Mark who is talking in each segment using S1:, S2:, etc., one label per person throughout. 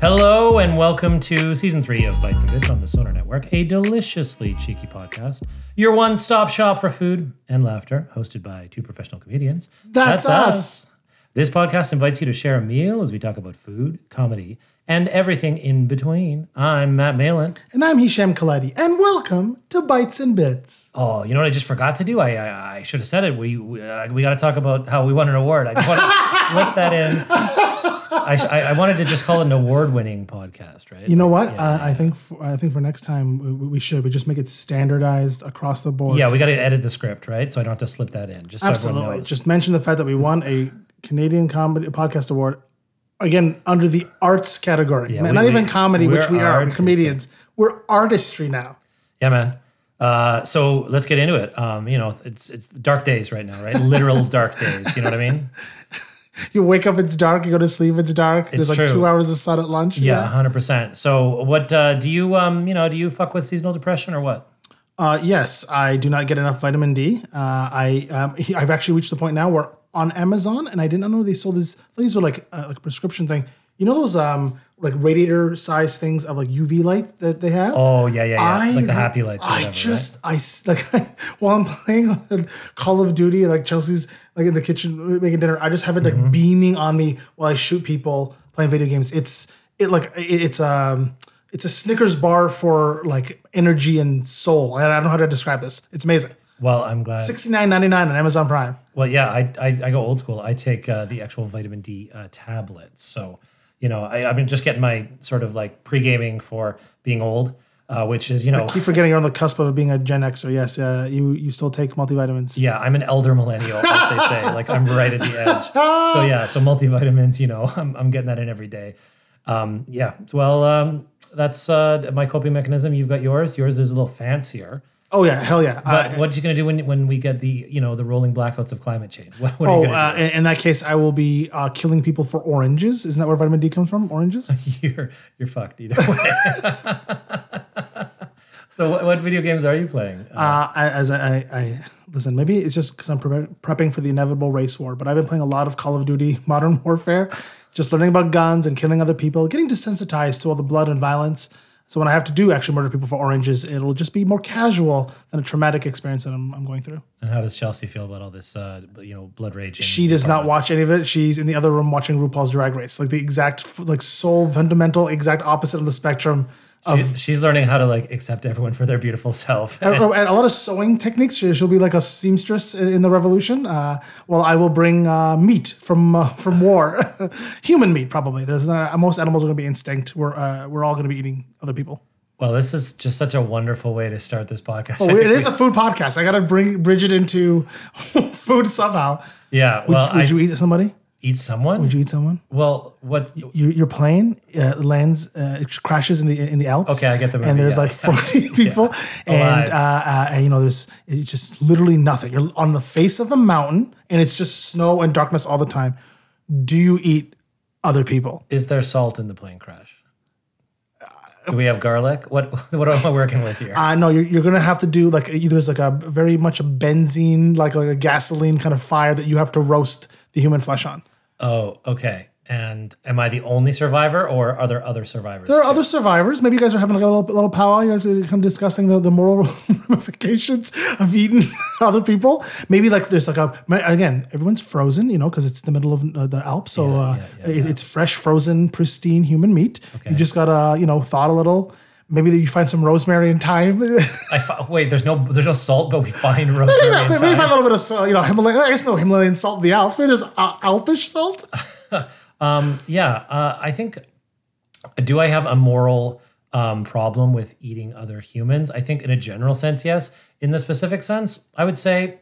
S1: Hello and welcome to season three of Bites and Bits on the Sonar Network, a deliciously cheeky podcast, your one-stop shop for food and laughter, hosted by two professional comedians.
S2: That's us.
S1: This podcast invites you to share a meal as we talk about food, comedy, and everything in between. I'm Matt Malin.
S2: And I'm Hisham Khaledi, and welcome to Bites and Bits.
S1: Oh, you know what I just forgot to do? I I, I should have said it. We we, uh, we got to talk about how we won an award. I just want to slip that in. I, sh- I I wanted to just call it an award-winning podcast, right?
S2: You know what? uh, I think for, I think for next time we, we should we just make it standardized across the board.
S1: Yeah, we got to edit the script, right? So I don't have to slip that in. Just so everyone
S2: absolutely.
S1: knows.
S2: Just mention the fact that we won a Canadian Comedy Podcast Award again under the arts category.
S1: Yeah,
S2: Man,
S1: we-
S2: not
S1: we-
S2: even comedy,
S1: we're
S2: which we are we're
S1: artistic.
S2: comedians. We're artistry now.
S1: yeah, man. Uh, so let's get into it. Um, you know, it's it's dark days right now, right? Literal dark days. You know what I mean?
S2: You wake up, it's dark. You go to sleep, it's dark. There's like
S1: true.
S2: two hours of sun at lunch.
S1: Yeah, hundred percent. So what uh, do you um you know do you fuck with seasonal depression or what?
S2: Uh, yes, I do not get enough vitamin D. Uh, I um, I've actually reached the point now where on Amazon, and I did not know they sold these. I thought these were like uh, like a prescription thing. You know those um like radiator size things of like UV light that they have.
S1: Oh yeah, yeah, yeah. like the happy lights. Or
S2: I
S1: whatever, right?
S2: just I s- like while I'm playing Call of Duty, like Chelsea's like in the kitchen making dinner. I just have it like
S1: Mm-hmm.
S2: beaming on me while I shoot people playing video games. It's it like it, it's um it's a Snickers bar for like energy and soul. And I don't know how to describe this. It's amazing.
S1: Well, I'm glad.
S2: Sixty nine ninety nine on Amazon Prime.
S1: Well, yeah, I, I I go old school. I take uh, the actual vitamin D uh, tablets. So you know, I, I've been just getting my sort of like pre gaming for being old, uh, which is you know.
S2: Keep forgetting you're on the cusp of being a Gen Xer. Yes, uh, you you still take multivitamins.
S1: Yeah, I'm an elder millennial, as they say. Like I'm right at the edge. So yeah, so multivitamins, you know, I'm, I'm getting that in every day. Um, yeah. So, Well, um, that's uh, my coping mechanism. You've got yours. Yours is a little fancier.
S2: Oh yeah, hell yeah. Uh,
S1: But what are you going to do when, when we get the you know the rolling blackouts of climate change? What, what are
S2: Oh,
S1: you going
S2: uh, in in that case, I will be uh, killing people for oranges. Isn't that where vitamin D comes from? Oranges?
S1: to do? You're you're fucked either way. so what, what video games are you playing? Uh,
S2: Uh, I- as I, I, I listen, maybe it's just because I'm pre- prepping for the inevitable race war, but I've been playing a lot of Call of Duty Modern Warfare, just learning about guns and killing other people, getting desensitized to all the blood and violence. So when I have to do actually murder people for oranges, it'll just be more casual than a traumatic experience that I'm, I'm going through.
S1: and how does Chelsea feel about all this? Uh, you know, blood rage. and-
S2: She does not watch any of it. She's in the other room watching RuPaul's Drag Race, like the exact, like sole fundamental, exact opposite of the spectrum. Of
S1: She's learning how to like accept everyone for their beautiful self.
S2: And, oh, and a lot of sewing techniques. She, will be like a seamstress in, in the revolution. Uh, well, I will bring uh, meat from uh, from war, human meat probably. There's not, most animals are going to be instinct. We're uh, we're all going to be eating other people.
S1: Well, this is just such a wonderful way to start this podcast.
S2: Oh, it is a food podcast. I got to bring Bridget into food somehow.
S1: yeah.
S2: Would,
S1: Well,
S2: would
S1: I
S2: you eat somebody?
S1: eat someone.
S2: Would you eat someone?
S1: well, what?
S2: You, your plane uh, lands, uh, it crashes in the in the Alps.
S1: Okay, I get the movie,
S2: And there's
S1: yeah.
S2: like 40 people, and uh, uh, and, you know there's it's just literally nothing. You're on the face of a mountain, and it's just snow and darkness all the time. Do you eat other people?
S1: Is there salt in the plane crash? Do we have garlic? What What am I working with here?
S2: Uh, no, you're, you're gonna have to do like either there's like a very much a benzene, like like a gasoline kind of fire that you have to roast the human flesh on.
S1: oh, okay. And am I the only survivor, or are there other survivors?
S2: There are other survivors. Maybe you guys are having like a little, little powwow. You guys are kind of discussing the, the moral ramifications of eating other people. Maybe like there's like a again, everyone's frozen, you know, because it's the middle of uh, the Alps, so uh, it- it's fresh, frozen, pristine human meat. You just gotta you know thaw it a little. Maybe you find some rosemary and thyme. Maybe
S1: I fi- wait, there's no there's no salt, but we find rosemary.
S2: not.
S1: and
S2: Maybe you find
S1: thyme.
S2: a little bit of salt, you know Himalayan. I guess no Himalayan salt in the Alps. Maybe there's uh, Alpish salt.
S1: yeah, uh, I think. Do I have a moral um, problem with eating other humans. I think in a general sense, yes. In the specific sense, I would say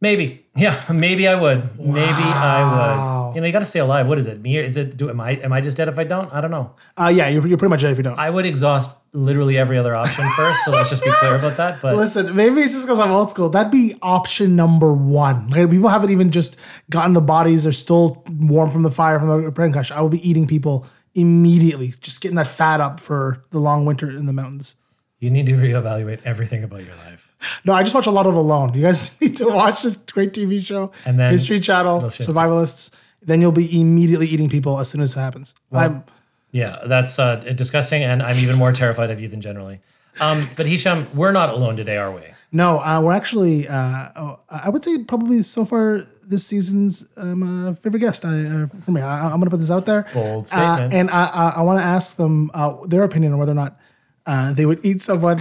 S1: maybe. Yeah, maybe I would. Maybe I would. You know, you got to stay alive. What is it? Me? Is it? Do am I? Am I just dead if I don't? I don't know.
S2: Uh, yeah, you're, you're pretty much dead if you don't.
S1: I would exhaust literally every other option first. So let's just be clear about that. But
S2: Listen, maybe it's just because I'm old school. That'd be option number one. Like people haven't even just gotten the bodies; they're still warm from the fire from the plane crash. I will be eating people immediately, just getting that fat up for the long winter in the mountains.
S1: you need to reevaluate everything about your life.
S2: No, I just watch a lot of Alone. You guys need to watch this great TV show,
S1: And then-
S2: History Channel,
S1: No shit.
S2: Survivalists. Then you'll be immediately eating people as soon as it happens. I'm
S1: Yeah, that's uh, disgusting, and I'm even more terrified of you than generally. Um, but Hisham, we're not alone today, are we?
S2: no, uh, we're actually. Uh, oh, I would say probably so far this season's um, uh, favorite guest I, uh, for me. I, I'm going to put this out there.
S1: Bold
S2: Uh,
S1: statement.
S2: and I, I, I want to ask them uh, their opinion on whether or not uh, they would eat someone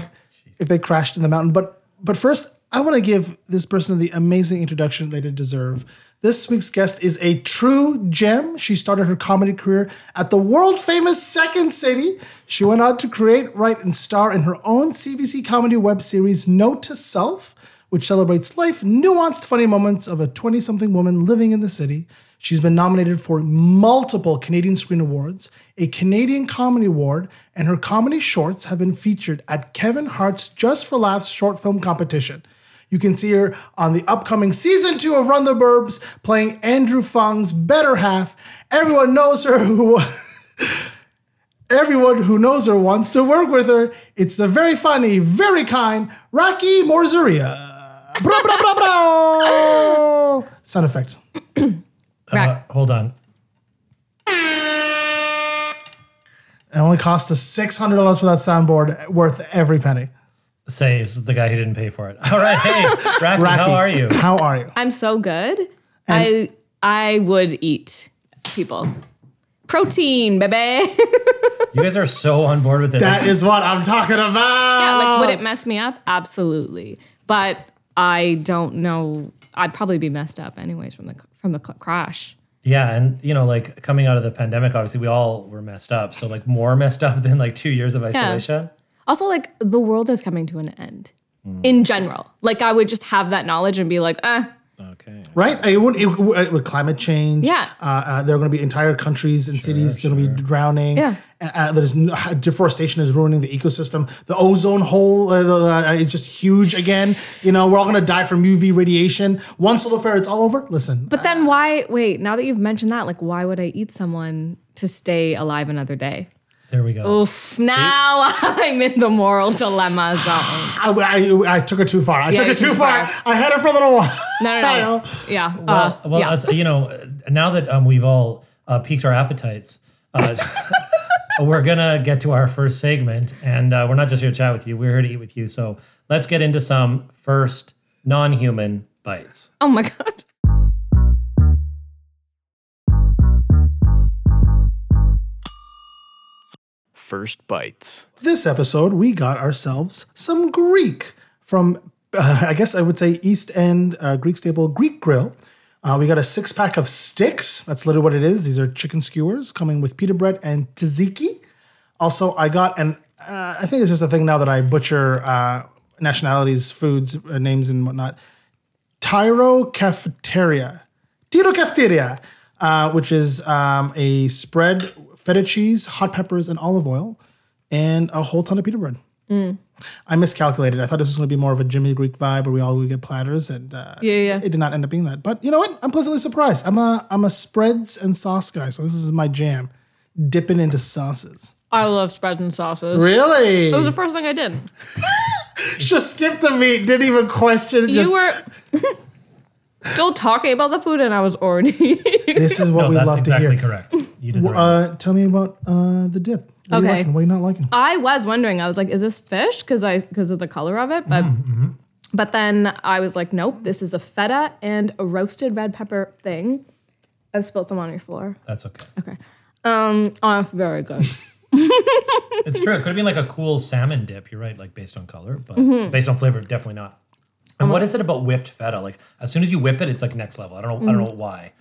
S2: if they crashed in the mountain. But but first, I want to give this person the amazing introduction they did deserve. This week's guest is a true gem. She started her comedy career at the world famous Second City. She went on to create, write, and star in her own CBC comedy web series, Note to Self, which celebrates life, nuanced, funny moments of a 20 something woman living in the city. She's been nominated for multiple Canadian Screen Awards, a Canadian Comedy Award, and her comedy shorts have been featured at Kevin Hart's Just for Laughs short film competition. You can see her on the upcoming season two of Run the Burbs playing Andrew Fong's better half. Everyone knows her who everyone who knows her wants to work with her. It's the very funny, very kind Rocky Morzuria. Bra, bra, bra, bra. Sound effect.
S1: Uh, hold on.
S2: It only cost us six hundred dollars for that soundboard, worth every penny.
S1: Says the guy who didn't pay for it. All right, hey, Racky,
S2: Racky,
S1: how are you?
S2: How are you?
S3: I'm so good. I I would eat people. Protein, baby.
S1: You guys are so on board with this.
S2: That is what I'm talking about.
S3: yeah, like would it mess me up? Absolutely. But I don't know. I'd probably be messed up anyways from the from the cl- crash.
S1: yeah, and you know, like coming out of the pandemic, obviously we all were messed up. So like more messed up than like two years of isolation.
S3: Also, like the world is coming to an end in general. Like I would just have that knowledge and be like, eh,
S1: Okay.
S2: right? It would, it, would- it would climate change.
S3: Yeah.
S2: uh, uh, there are going to be entire countries and cities going to be drowning.
S3: Yeah.
S2: Uh, uh, there's n- deforestation is ruining the ecosystem. The ozone hole uh, uh, uh, is just huge again. You know, we're all going to die from UV radiation. Once Solifair, it's all over. Listen,
S3: But then why? Wait, now that you've mentioned that, like, why would I eat someone to stay alive another day?
S1: There we go.
S3: Oof, now I'm in the moral dilemma zone.
S2: I, I, I took it too far. I took
S3: you
S2: it too, far. I had it for a little while.
S3: No, no, no. yeah. uh,
S1: Well, well
S3: yeah.
S1: as- you know, uh, now that um, we've all uh, piqued our appetites, uh, we're gonna get to our first segment, and uh, we're not just here to chat with you; we're here to eat with you. So let's get into some first non-human bites.
S3: oh my God.
S4: First bites.
S2: This episode, we got ourselves some Greek from, uh, I guess I would say, East End uh, Greek staple Greek Grill. Uh, we got a six pack of sticks. That's literally what it is. These are chicken skewers coming with pita bread and tzatziki. Also, I got an, uh, I think it's just a thing now that I butcher uh, nationalities, foods, uh, names, and whatnot. Tyro Cafeteria. Tiro Cafeteria, uh, which is um, a spread, feta cheese, hot peppers, and olive oil, and a whole ton of pita bread.
S3: Mm.
S2: I miscalculated. I thought this was going to be more of a Jimmy Greek vibe where we all would get platters, and uh,
S3: Yeah, yeah.
S2: it did not end up being that. But you know what? I'm pleasantly surprised. I'm a I'm a spreads and sauce guy, so this is my jam. Dipping into sauces.
S3: I love spreads and sauces.
S2: Really?
S3: It was the first thing I did.
S2: Just skipped the meat. Didn't even question. Just,
S3: You were still talking about the food, and I was already.
S2: this is what
S1: No,
S2: we
S1: Oh, that's
S2: love to
S1: exactly
S2: hear.
S1: correct. You did the right.
S2: Uh, tell me about uh, the dip. What Are you
S3: Okay.
S2: liking? What are you not liking?
S3: I was wondering. I was like, "Is this fish?" Because I because of the color of it, but but then I was like, "Nope, this is a feta and a roasted red pepper thing." I've spilled some on your floor.
S1: that's okay.
S3: Okay, um, oh, very good.
S1: It's true. It could have been like a cool salmon dip. You're right, like based on color, but based on flavor, definitely not. And what is it about whipped feta? Like as soon as you whip it, it's like next level. I don't know. I don't know why.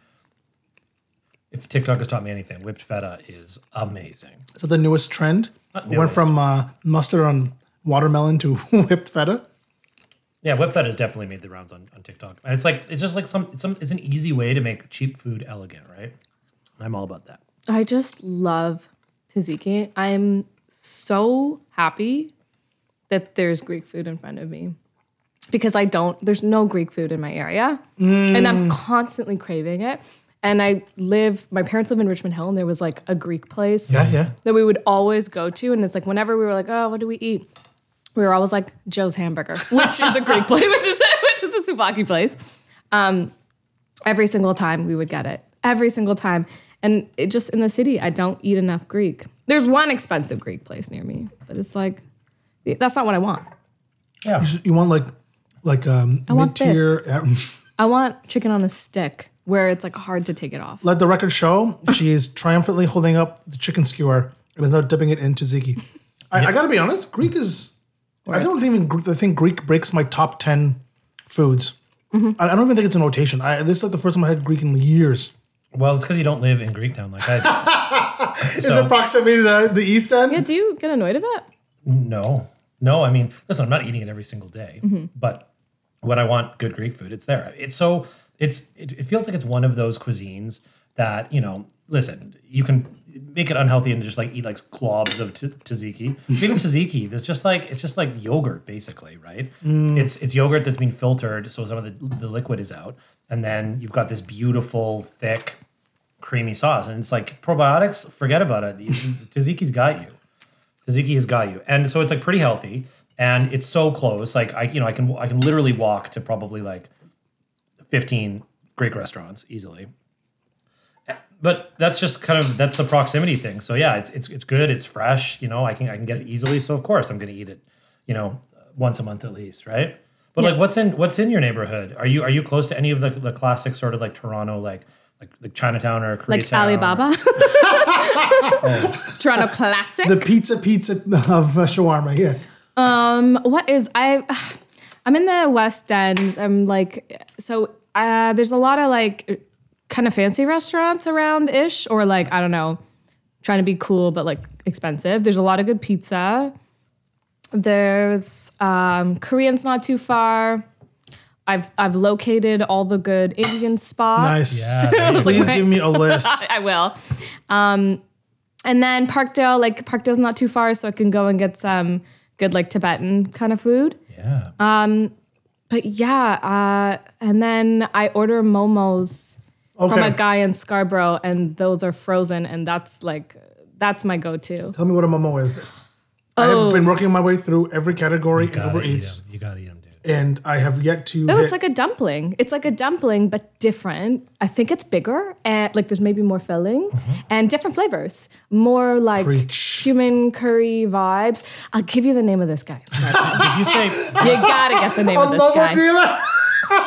S1: if TikTok has taught me anything, whipped feta is amazing.
S2: So the newest trend went
S1: newest.
S2: from uh, mustard on watermelon to whipped feta.
S1: Yeah, whipped feta has definitely made the rounds on, on TikTok, and it's like it's just like some it's some it's an easy way to make cheap food elegant, right? I'm all about that.
S3: I just love tzatziki. I'm so happy that there's Greek food in front of me because I don't, there's no Greek food in my area and
S2: Mm.
S3: I'm constantly craving it. And I live, my parents live in Richmond Hill and there was like a Greek place
S2: yeah.
S3: that we would always go to. And it's like whenever we were like, oh, what do we eat? We were always like Joe's Hamburger, which is a Greek place, which is which is a souvlaki place. Um, every single time we would get it, every single time, and it just in the city, I don't eat enough Greek. There's one expensive Greek place near me, but it's like that's not what I want.
S1: Yeah,
S2: You want like like um, mid
S3: want
S2: tier.
S3: I want chicken on a stick, where it's like hard to take it off.
S2: Let the record show she is triumphantly holding up the chicken skewer and is now dipping it into tzatziki. I, I gotta be honest, Greek is. I don't even. gr- I think Greek breaks my top ten foods. I, I don't even think it's an rotation. I, this is like the first time I had Greek in years.
S1: well, it's because you don't live in Greektown like I do. So-
S2: proximity to the, the East End?
S3: Yeah, do you get annoyed of it?
S1: No, no. I mean, listen, I'm not eating it every single day, but when I want good Greek food, it's there. It's so it's it, it feels like it's one of those cuisines that you know. Listen, you can make it unhealthy and just like eat like globs of t- tzatziki. But Even tzatziki, there's just like it's just like yogurt basically, right? It's it's yogurt that's been filtered, so some of the the liquid is out, and then you've got this beautiful thick. Creamy sauce, and it's like probiotics. Forget about it. Tzatziki's got you. Tzatziki has got you, and so it's like pretty healthy, and it's so close. Like I, you know, I can I can literally walk to probably like fifteen Greek restaurants easily. But that's just kind of that's the proximity thing. So yeah, it's it's it's good. It's fresh. You know, I can I can get it easily. So of course I'm going to eat it. You know, once a month at least, right? But like, what's in what's in your neighborhood? Are you are you close to any of the the classic sort of like Toronto like like, like Chinatown or Koreatown?
S3: Like Alibaba, Toronto classic.
S2: The pizza pizza of uh, shawarma, yes.
S3: Um, what is I? I'm in the West End. I'm like so. Uh, there's a lot of like kind of fancy restaurants around ish, or like I don't know, trying to be cool but like expensive. There's a lot of good pizza. There's um, Koreans not too far. I've I've located all the good Indian spots.
S2: Nice.
S1: Yeah,
S2: Please give me a list.
S3: I will. Um, and then Parkdale, like Parkdale's not too far, so I can go and get some good like Tibetan kind of food. Um,
S1: Yeah.
S3: But yeah, uh, and then I order momos from
S2: Okay.
S3: a guy in Scarborough, and those are frozen, and that's like that's my go-to.
S2: Tell me what a momo is. I
S3: Oh.
S2: have been working my way through every category in
S1: Gotta
S2: Uber
S1: eat 'em.
S2: Eats,
S1: You gotta eat them, dude.
S2: and I have yet to.
S3: Oh,
S2: hit-
S3: it's like a dumpling. It's like a dumpling, but different. I think it's bigger, and like there's maybe more filling and different flavors. More like
S2: Mm-hmm. Preach.
S3: cumin curry vibes. I'll give you the name of this guy.
S1: Did you say
S3: you gotta get the name of this guy.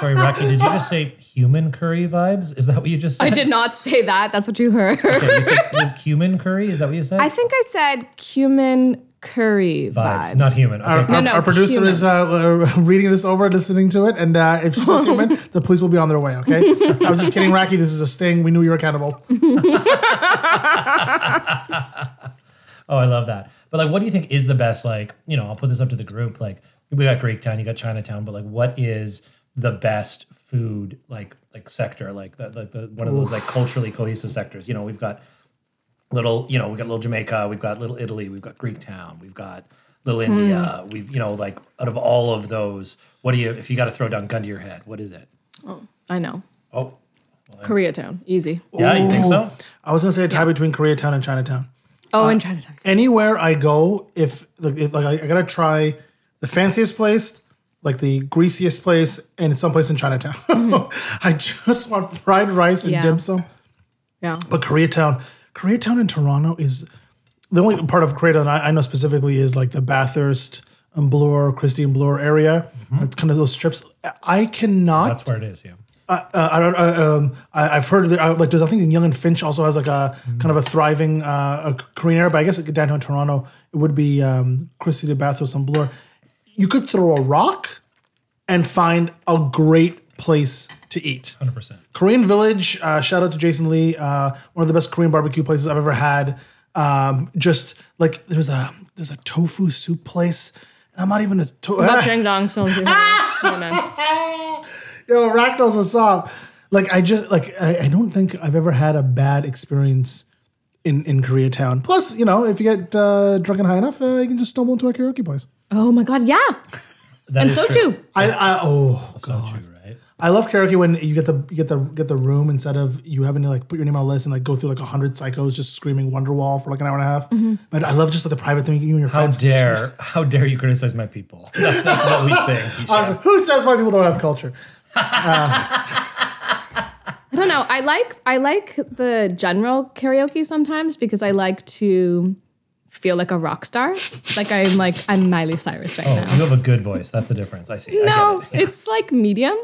S1: Sorry, Rocky, did you just say human curry vibes? Is that what you just said?
S3: I did not say that. That's what you heard.
S1: Okay, you said human curry? Is that what you said?
S3: I think I said cumin curry vibes.
S1: Not human. Okay.
S2: Our,
S3: no,
S2: our producer
S3: human.
S2: is uh, reading this over, listening to it, and uh, if she says human, the police will be on their way, okay? I was just kidding, Rocky. This is a sting. We knew you were accountable.
S1: Oh, I love that. But like, what do you think is the best? Like, you know, I'll put this up to the group. Like, we got Greektown, you got Chinatown, but like, what is the best food like like sector? Like, the, like the one of those like culturally cohesive sectors. You know, we've got little, you know, we got little Jamaica, we've got little Italy, we've got Greektown, we've got little
S3: Hmm.
S1: India. We've you know, like out of all of those, what do you? If you got to throw down gun to your head, what is it?
S3: I know.
S1: Oh,
S3: Koreatown. Easy.
S1: yeah, you think so?
S2: I was going to say a tie between Koreatown and Chinatown.
S3: Oh, in Chinatown.
S2: anywhere I go, if like, if- like I, I gotta try the fanciest place, like the greasiest place, and someplace in Chinatown. I just want fried rice and
S3: Yeah.
S2: dim sum.
S3: Yeah.
S2: But Koreatown, Koreatown in Toronto is the only part of Koreatown I, I know specifically is like the Bathurst and Bloor, Christie and Bloor area, like, kind of those strips. I cannot
S1: That's where it is. Yeah.
S2: uh, I don't. Uh, um, I, I've heard that, uh, like there's I think Young and Finch also has like a kind of a thriving uh, a Korean area, but I guess like downtown Toronto it would be um, Christie de Bathurst and Bloor. You could throw a rock and find a great place to eat.
S1: 100%.
S2: Korean Village. Uh, shout out to Jason Lee. Uh, one of the best Korean barbecue places I've ever had. Um, just like there's a there's a tofu soup place. And I'm not even a tofu.
S3: About Jang Dong sounds different.
S2: Yo, Racknos, what's up? Like I just like I, I don't think I've ever had a bad experience in in Koreatown. Plus, you know, if you get uh, drunk and high enough, uh, you can just stumble into a karaoke place.
S3: Oh my god, yeah.
S1: That
S3: and
S1: is
S3: so
S1: true.
S3: too.
S2: I, I oh
S1: So true, right?
S2: I love karaoke when you get the you get the get the room instead of you having to like put your name on a list and like go through like a hundred psychos just screaming Wonderwall for like an hour and a half. But I love just like the private thing you and your
S1: Mm-hmm. How
S2: friends. can just-
S1: dare, how dare you criticize my people? That's what we say. in Keisha.
S2: I was like, Who says white people don't have culture?
S3: I don't know. I like I like the general karaoke sometimes because I like to feel like a rock star. like I'm like I'm Miley Cyrus right
S1: Oh,
S3: now.
S1: you have a good voice. That's the difference. I see.
S3: No,
S1: I get it.
S3: it's like medium,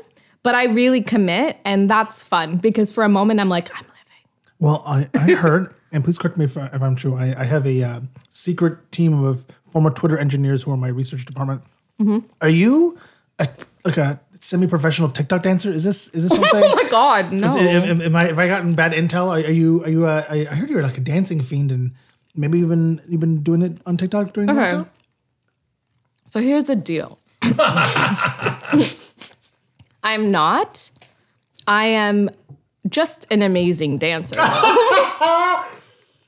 S3: but I really commit, and that's fun because for a moment I'm like, I'm living.
S2: Well, I, I heard, and please correct me if, I- if I'm true. I, I have a uh, secret team of former Twitter engineers who are my research department.
S3: Mm-hmm.
S2: Are you a, like a semi-professional TikTok dancer? Is this is this something?
S3: Oh my god, no.
S2: Am, am- am I, have I gotten bad intel? Are, are you? Are you? Uh, I I heard you're like a dancing fiend, and maybe you've been you've been doing it on TikTok during
S3: Okay.
S2: lockdown.
S3: So here's the deal. I'm not. I am just an amazing dancer.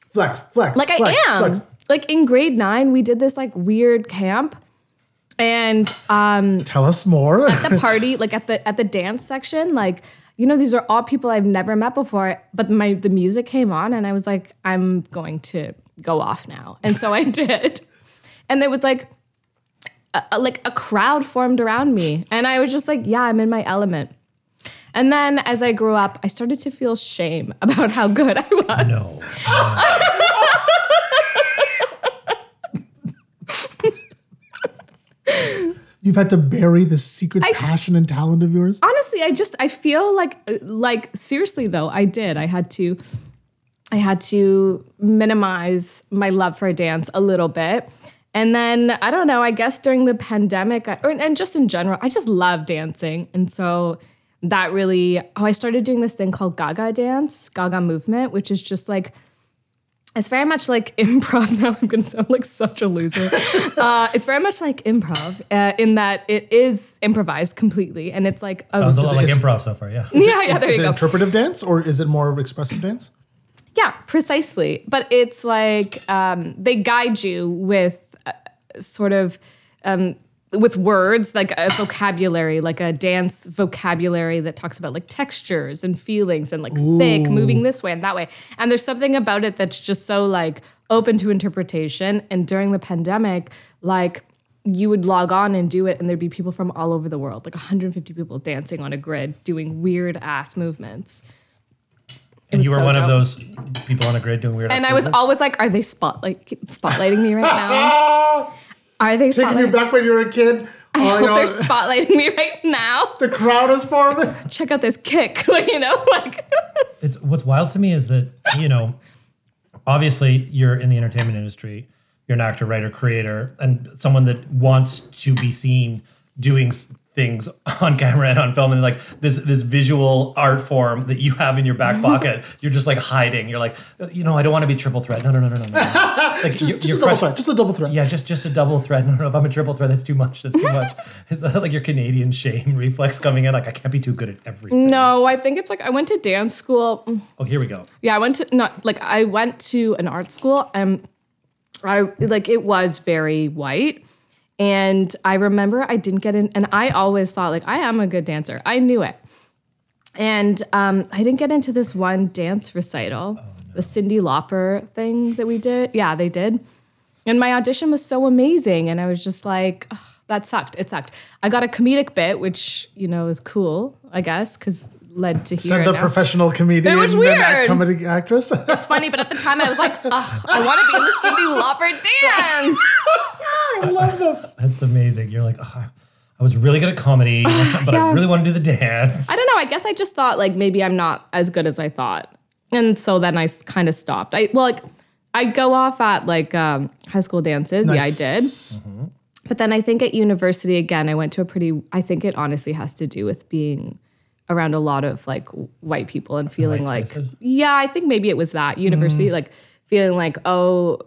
S2: Flex, flex.
S3: Like I
S2: flex,
S3: am.
S2: Flex.
S3: Like in grade nine, we did this like weird camp. And
S2: Tell us more.
S3: at the party, like at the at the dance section, like you know, these are all people I've never met before. But my the music came on, and I was like, I'm going to go off now, and so I did. And there was like, a, a- like a crowd formed around me, and I was just like, yeah, I'm in my element. And then as I grew up, I started to feel shame about how good I was.
S1: No.
S2: You've had to bury this secret passion and talent of yours.
S3: honestly i just i feel like like seriously though i did i had to i had to minimize my love for dance a little bit and then i don't know i guess during the pandemic I, or, and just in general i just love dancing and so that really oh i started doing this thing called gaga dance gaga movement which is just like it's very much like improv. Now I'm going to sound like such a loser. uh, it's very much like improv uh, in that it is improvised completely, and it's like a,
S1: Sounds a lot like improv so far, yeah.
S3: yeah, yeah. There
S2: Is
S3: you
S2: it
S3: go.
S2: interpretive dance or is it more of expressive dance?
S3: Yeah, precisely. But it's like um, they guide you with uh, sort of um, with words, like a vocabulary, like a dance vocabulary that talks about like textures and feelings and like thick, moving this way and that way. And there's something about it that's just so like open to interpretation. And during the pandemic, like you would log on and do it, and there'd be people from all over the world, like 150 people dancing on a grid, doing weird ass movements.
S1: And
S3: was
S1: you were
S3: so
S1: one of
S3: dope.
S1: those people on a grid doing weird
S3: And I was always like, are they spotlight spotlighting me right now? Are they
S2: Taking you
S3: spotlighting?
S2: back when you were a kid.
S3: I
S2: Oh,
S3: hope
S2: you know,
S3: they're spotlighting me right now.
S2: the crowd is forming.
S3: Check out this kick, like, you know, like
S1: it's what's wild to me is that you know obviously you're in the entertainment industry you're an actor writer creator and someone that wants to be seen doing s- things on camera and on film and like this this visual art form that you have in your back pocket you're just like hiding you're like "Uh, you know i don't want to be triple threat no no no no no, no. like
S2: Just, just a double threat. Just a double threat.
S1: yeah, just just a double thread. No, no, if I'm a triple thread, that's too much. That's too much. Is that like your Canadian shame reflex coming in? Like I can't be too good at everything.
S3: no. I think it's like I went to dance school.
S1: Oh, here we go.
S3: Yeah, I went to not like I went to an art school. Um, I like it was very white, and I remember I didn't get in, and I always thought like I am a good dancer. I knew it, and um, I didn't get into this one dance recital, the Cindy Lauper thing that we did. Yeah, they did, and my audition was so amazing, and I was just like. "Ugh, that sucked. It sucked. I got a comedic bit, which you know is cool, I guess, because led to here.
S2: Said the
S3: and now
S2: professional comedian
S3: It was
S2: and
S3: weird.
S2: comedy actress.
S3: it's funny, but at the time I was like, Ugh, I want to be in the Cindy Lauper dance.
S2: I love this.
S1: That's amazing. You're like, oh, I was really good at comedy, but I
S3: yeah.
S1: really want to do the dance.
S3: I don't know. I guess I just thought like maybe I'm not as good as I thought, and so then I kind of stopped. I well, like I go off at like um, high school dances. Yeah, I did. But then I think at university again, I went to a pretty. I think it honestly has to do with being around a lot of like white people and feeling like
S1: spaces?
S3: yeah i think maybe it was that
S2: Mm.
S3: university like feeling like oh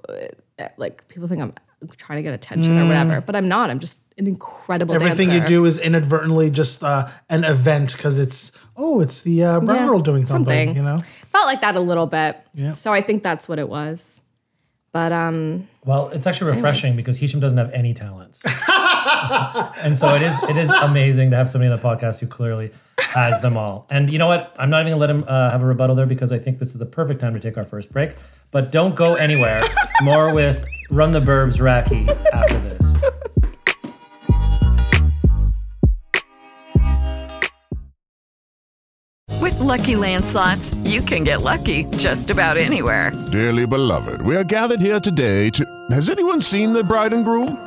S3: uh, like people think i'm trying to get attention or whatever but i'm not i'm just an incredible
S2: Mm. Everything
S3: dancer.
S2: you do is inadvertently just uh, an event because it's oh, it's the uh, brown
S3: Yeah,
S2: girl doing something,
S3: something.
S2: You know,
S3: felt like that a little bit
S2: Yeah.
S3: so i think that's what it was but um
S1: Well, it's actually refreshing because Hisham doesn't have any talents, and so it is it is amazing to have somebody on the podcast who clearly has them all. And you know what? I'm not even gonna let him uh, have a rebuttal there because I think this is the perfect time to take our first break. But don't go anywhere. More with Run the Burbs Racky after this.
S5: With Lucky Land slots, you can get lucky just about anywhere.
S6: Dearly beloved, we are gathered here today to. Has anyone seen the bride and groom?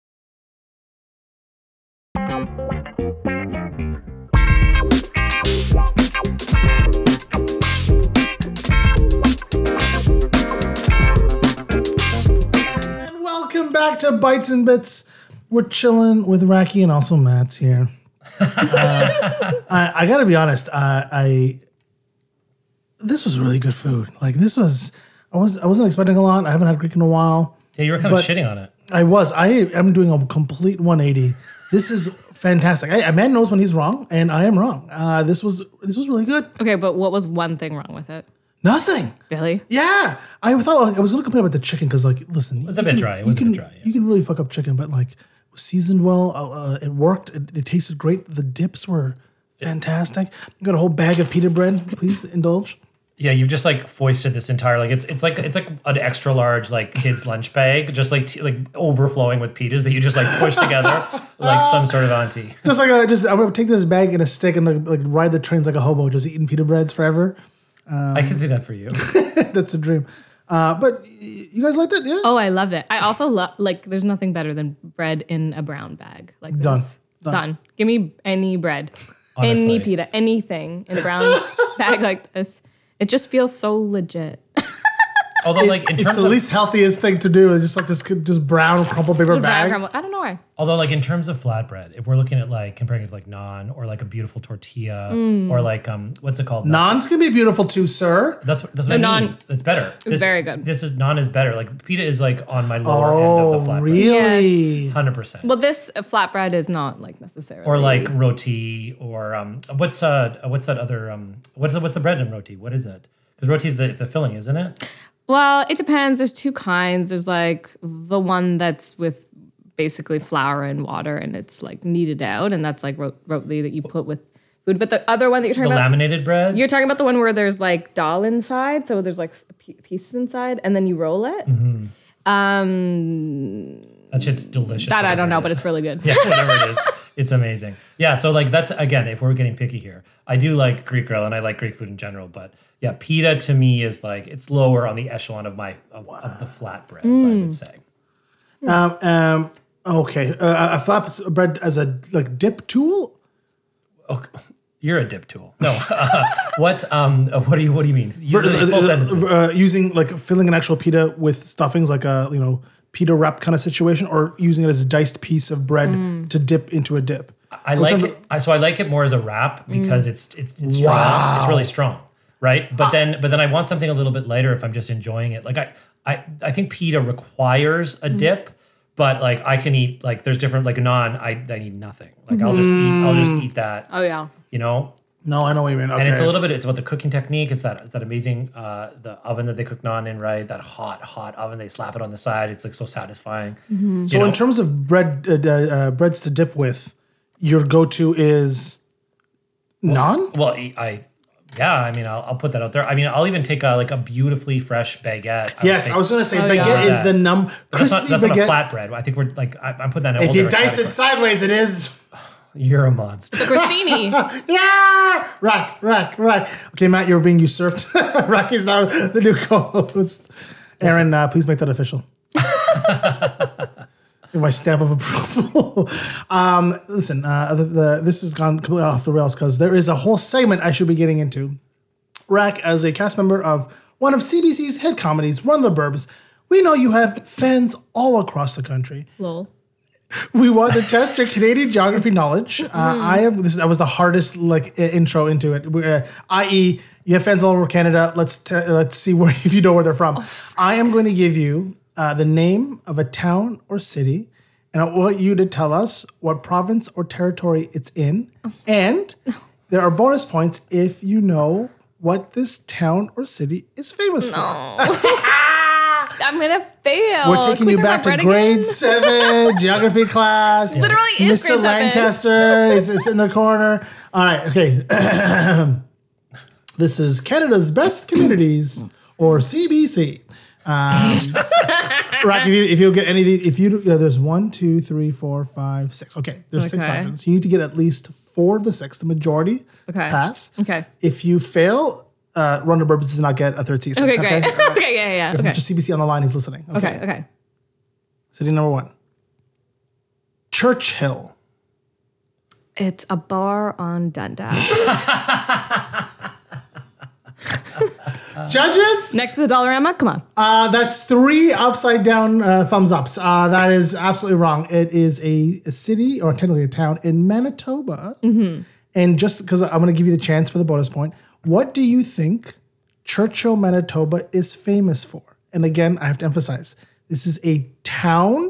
S2: And welcome back to Bites and Bits. We're chilling with Racky and also Matt's here. Uh, I, I gotta be honest. Uh, I this was really good food. Like this was, I was I wasn't expecting a lot. I haven't had Greek in a while.
S1: Yeah, you were kind of
S2: But-
S1: shitting on it.
S2: I was. I am doing a complete 180. This is fantastic. I, a man knows when he's wrong, and I am wrong. Uh, this was this was really good.
S3: okay but what was one thing wrong with it
S2: Nothing.
S3: really
S2: Yeah, I thought like, I was gonna complain about the chicken because, like, listen,
S1: It's a bit dry. It
S2: you
S1: was a
S2: can
S1: bit dry.
S2: you
S1: Yeah.
S2: can really fuck up chicken, but like seasoned well, uh, uh, it worked. It, it tasted great. The dips were fantastic. Got a whole bag of pita bread. Please indulge.
S1: yeah, you've just like foisted this entire like it's it's like it's like an extra large like kids lunch bag, just like t- like overflowing with pitas that you just like push together like some sort
S3: Uh.
S1: of auntie.
S2: Just like a, just I'm gonna take this bag and a stick and like, like ride the trains like a hobo, just eating pita breads forever.
S1: I can see that for you.
S2: That's the dream. Uh, but y- you guys liked it, yeah?
S3: Oh, I loved it. I also love like there's nothing better than bread in a brown bag. Like this.
S2: Done.
S3: Done. Give me any bread. Any
S1: Honestly.
S3: pita, anything in a brown bag like this. It just feels so legit.
S1: Although, like in
S2: It's
S1: terms
S2: the
S1: of
S2: least healthiest thing to do. Just like this, just brown crumpled paper
S3: Brown
S2: bag.
S3: crumble. I don't know why.
S1: although like in terms of flatbread, if we're looking at like comparing it to like naan or like a beautiful tortilla
S3: Mm.
S1: or like um what's it called?
S2: Naan's gonna be beautiful too, sir.
S1: That's what, that's what I
S3: naan
S1: mean. That's better. It's
S3: very good.
S1: This is naan is better. Like pita is like on my lower end of the
S2: Oh,
S1: flatbread.
S2: really?
S1: Hundred percent.
S3: Well, this flatbread is not like necessarily
S1: or like roti or um what's uh what's that other um what's the, what's the bread in roti? What is that? Because roti is the, the filling, isn't it?
S3: Well, it depends. There's two kinds. There's like the one that's with basically flour and water and it's like kneaded out and that's like ro- rotely that you put with food. But the other one that you're
S1: The
S3: talking about
S1: laminated bread.
S3: You're talking about the one where there's like dal inside, so there's like s- p- pieces inside, and then you roll it.
S2: Mm-hmm.
S3: Um,
S1: that shit's delicious.
S3: that I
S1: whatever
S3: don't know,
S1: it
S3: but
S1: is.
S3: it's really good.
S1: yeah, whatever it is. It's amazing. Yeah, so like that's again, if we're getting picky here, I do like Greek grill and I like Greek food in general, but yeah, pita to me is like it's lower on the echelon of my of, of the flatbreads, I
S3: Mm.
S1: would say.
S2: Um, um, okay, uh, a flap bread as a like dip tool.
S1: Okay. You're a dip tool. No, uh, what um what do you what do you mean? Use it in full sentences.
S2: Uh, using like filling an actual pita with stuffings, like a you know pita wrap kind of situation, or using it as a diced piece of bread
S3: Mm.
S2: to dip into a dip.
S1: I like it. I, so I like it more as a wrap because it's it's it's strong. It's really strong, right? But then but then I want something a little bit lighter if I'm just enjoying it. Like I I I think pita requires a dip, but like I can eat like there's different like naan. I I need nothing. Like I'll just eat I'll just eat that.
S3: Oh yeah.
S1: You know.
S2: No, I know what you mean. Okay.
S1: And it's a little bit. It's about the cooking technique. It's that it's that amazing uh, the oven that they cook naan in, right? That hot, hot oven. They slap it on the side. It's like so satisfying.
S2: so in terms of bread uh, uh, breads to dip with, your go to is naan.
S1: Well, I, I- yeah, I mean, I'll, I'll put that out there. I mean, I'll even take a, like a beautifully fresh baguette. would
S2: Yes,
S1: say.
S2: I was gonna say
S3: Oh,
S2: baguette
S3: yeah.
S2: is the num
S1: That's
S2: crispy
S1: not, that's not a
S2: baguette.
S1: flatbread. I think we're like I, I'm putting that. In a
S2: if
S1: whole
S2: you
S1: different
S2: dice it
S1: category.
S2: sideways, it is.
S1: you're a monster.
S3: So Christini,
S2: Yeah! Rock, rock, rock. Okay, Matt, you're being usurped. rock is now the new co-host. Aaron, uh, please make that official. my stamp of approval. um, listen, uh, the, the, this has gone completely off the rails because there is a whole segment I should be getting into. Rack, as a cast member of one of CBC's hit comedies, Run the Burbs, we know you have fans all across the country.
S3: Lol.
S2: We want to test your Canadian geography knowledge. Uh,
S3: Mm-hmm.
S2: I am. This that was the hardest like i- intro into it. We- Uh, I.e., you have fans all over Canada. Let's t- let's see where if you know where they're from.
S3: Oh,
S2: I am going to give you uh, the name of a town or city, and I want you to tell us what province or territory it's in.
S3: Oh.
S2: And there are bonus points if you know what this town or city is famous for.
S3: I'm gonna fail.
S2: We're
S3: Can
S2: taking
S3: we
S2: you
S3: talk about
S2: back to
S3: bread
S2: grade
S3: again?
S2: seven geography class.
S3: Literally is grade
S2: Mr.
S3: seven.
S2: Lancaster is, is in the corner. All right, okay. this is Canada's best communities or CBC. Um, Rocky, if you, if you get any of these, if you yeah, there's one, two, three, four, five, six. Okay, there's six
S3: Okay.
S2: options. You need to get at least four of the six, the majority to
S3: Okay.
S2: pass.
S3: Okay.
S2: If you fail, uh, Ronda Burbs does not get a third season.
S3: Okay, great. Okay, yeah, yeah, yeah. Okay.
S2: Mr. CBC on the line, he's listening.
S3: Okay, okay.
S2: City number one. Churchill.
S3: It's a bar on Dundas.
S2: Judges,
S3: Next to the Dollarama? Come on.
S2: uh, that's three upside down uh, thumbs ups. Uh, that is absolutely wrong. It is a, a city or technically a town in Manitoba. And just because I'm going to give you the chance for the bonus point, what do you think Churchill, Manitoba is famous for? And again, I have to emphasize this is a town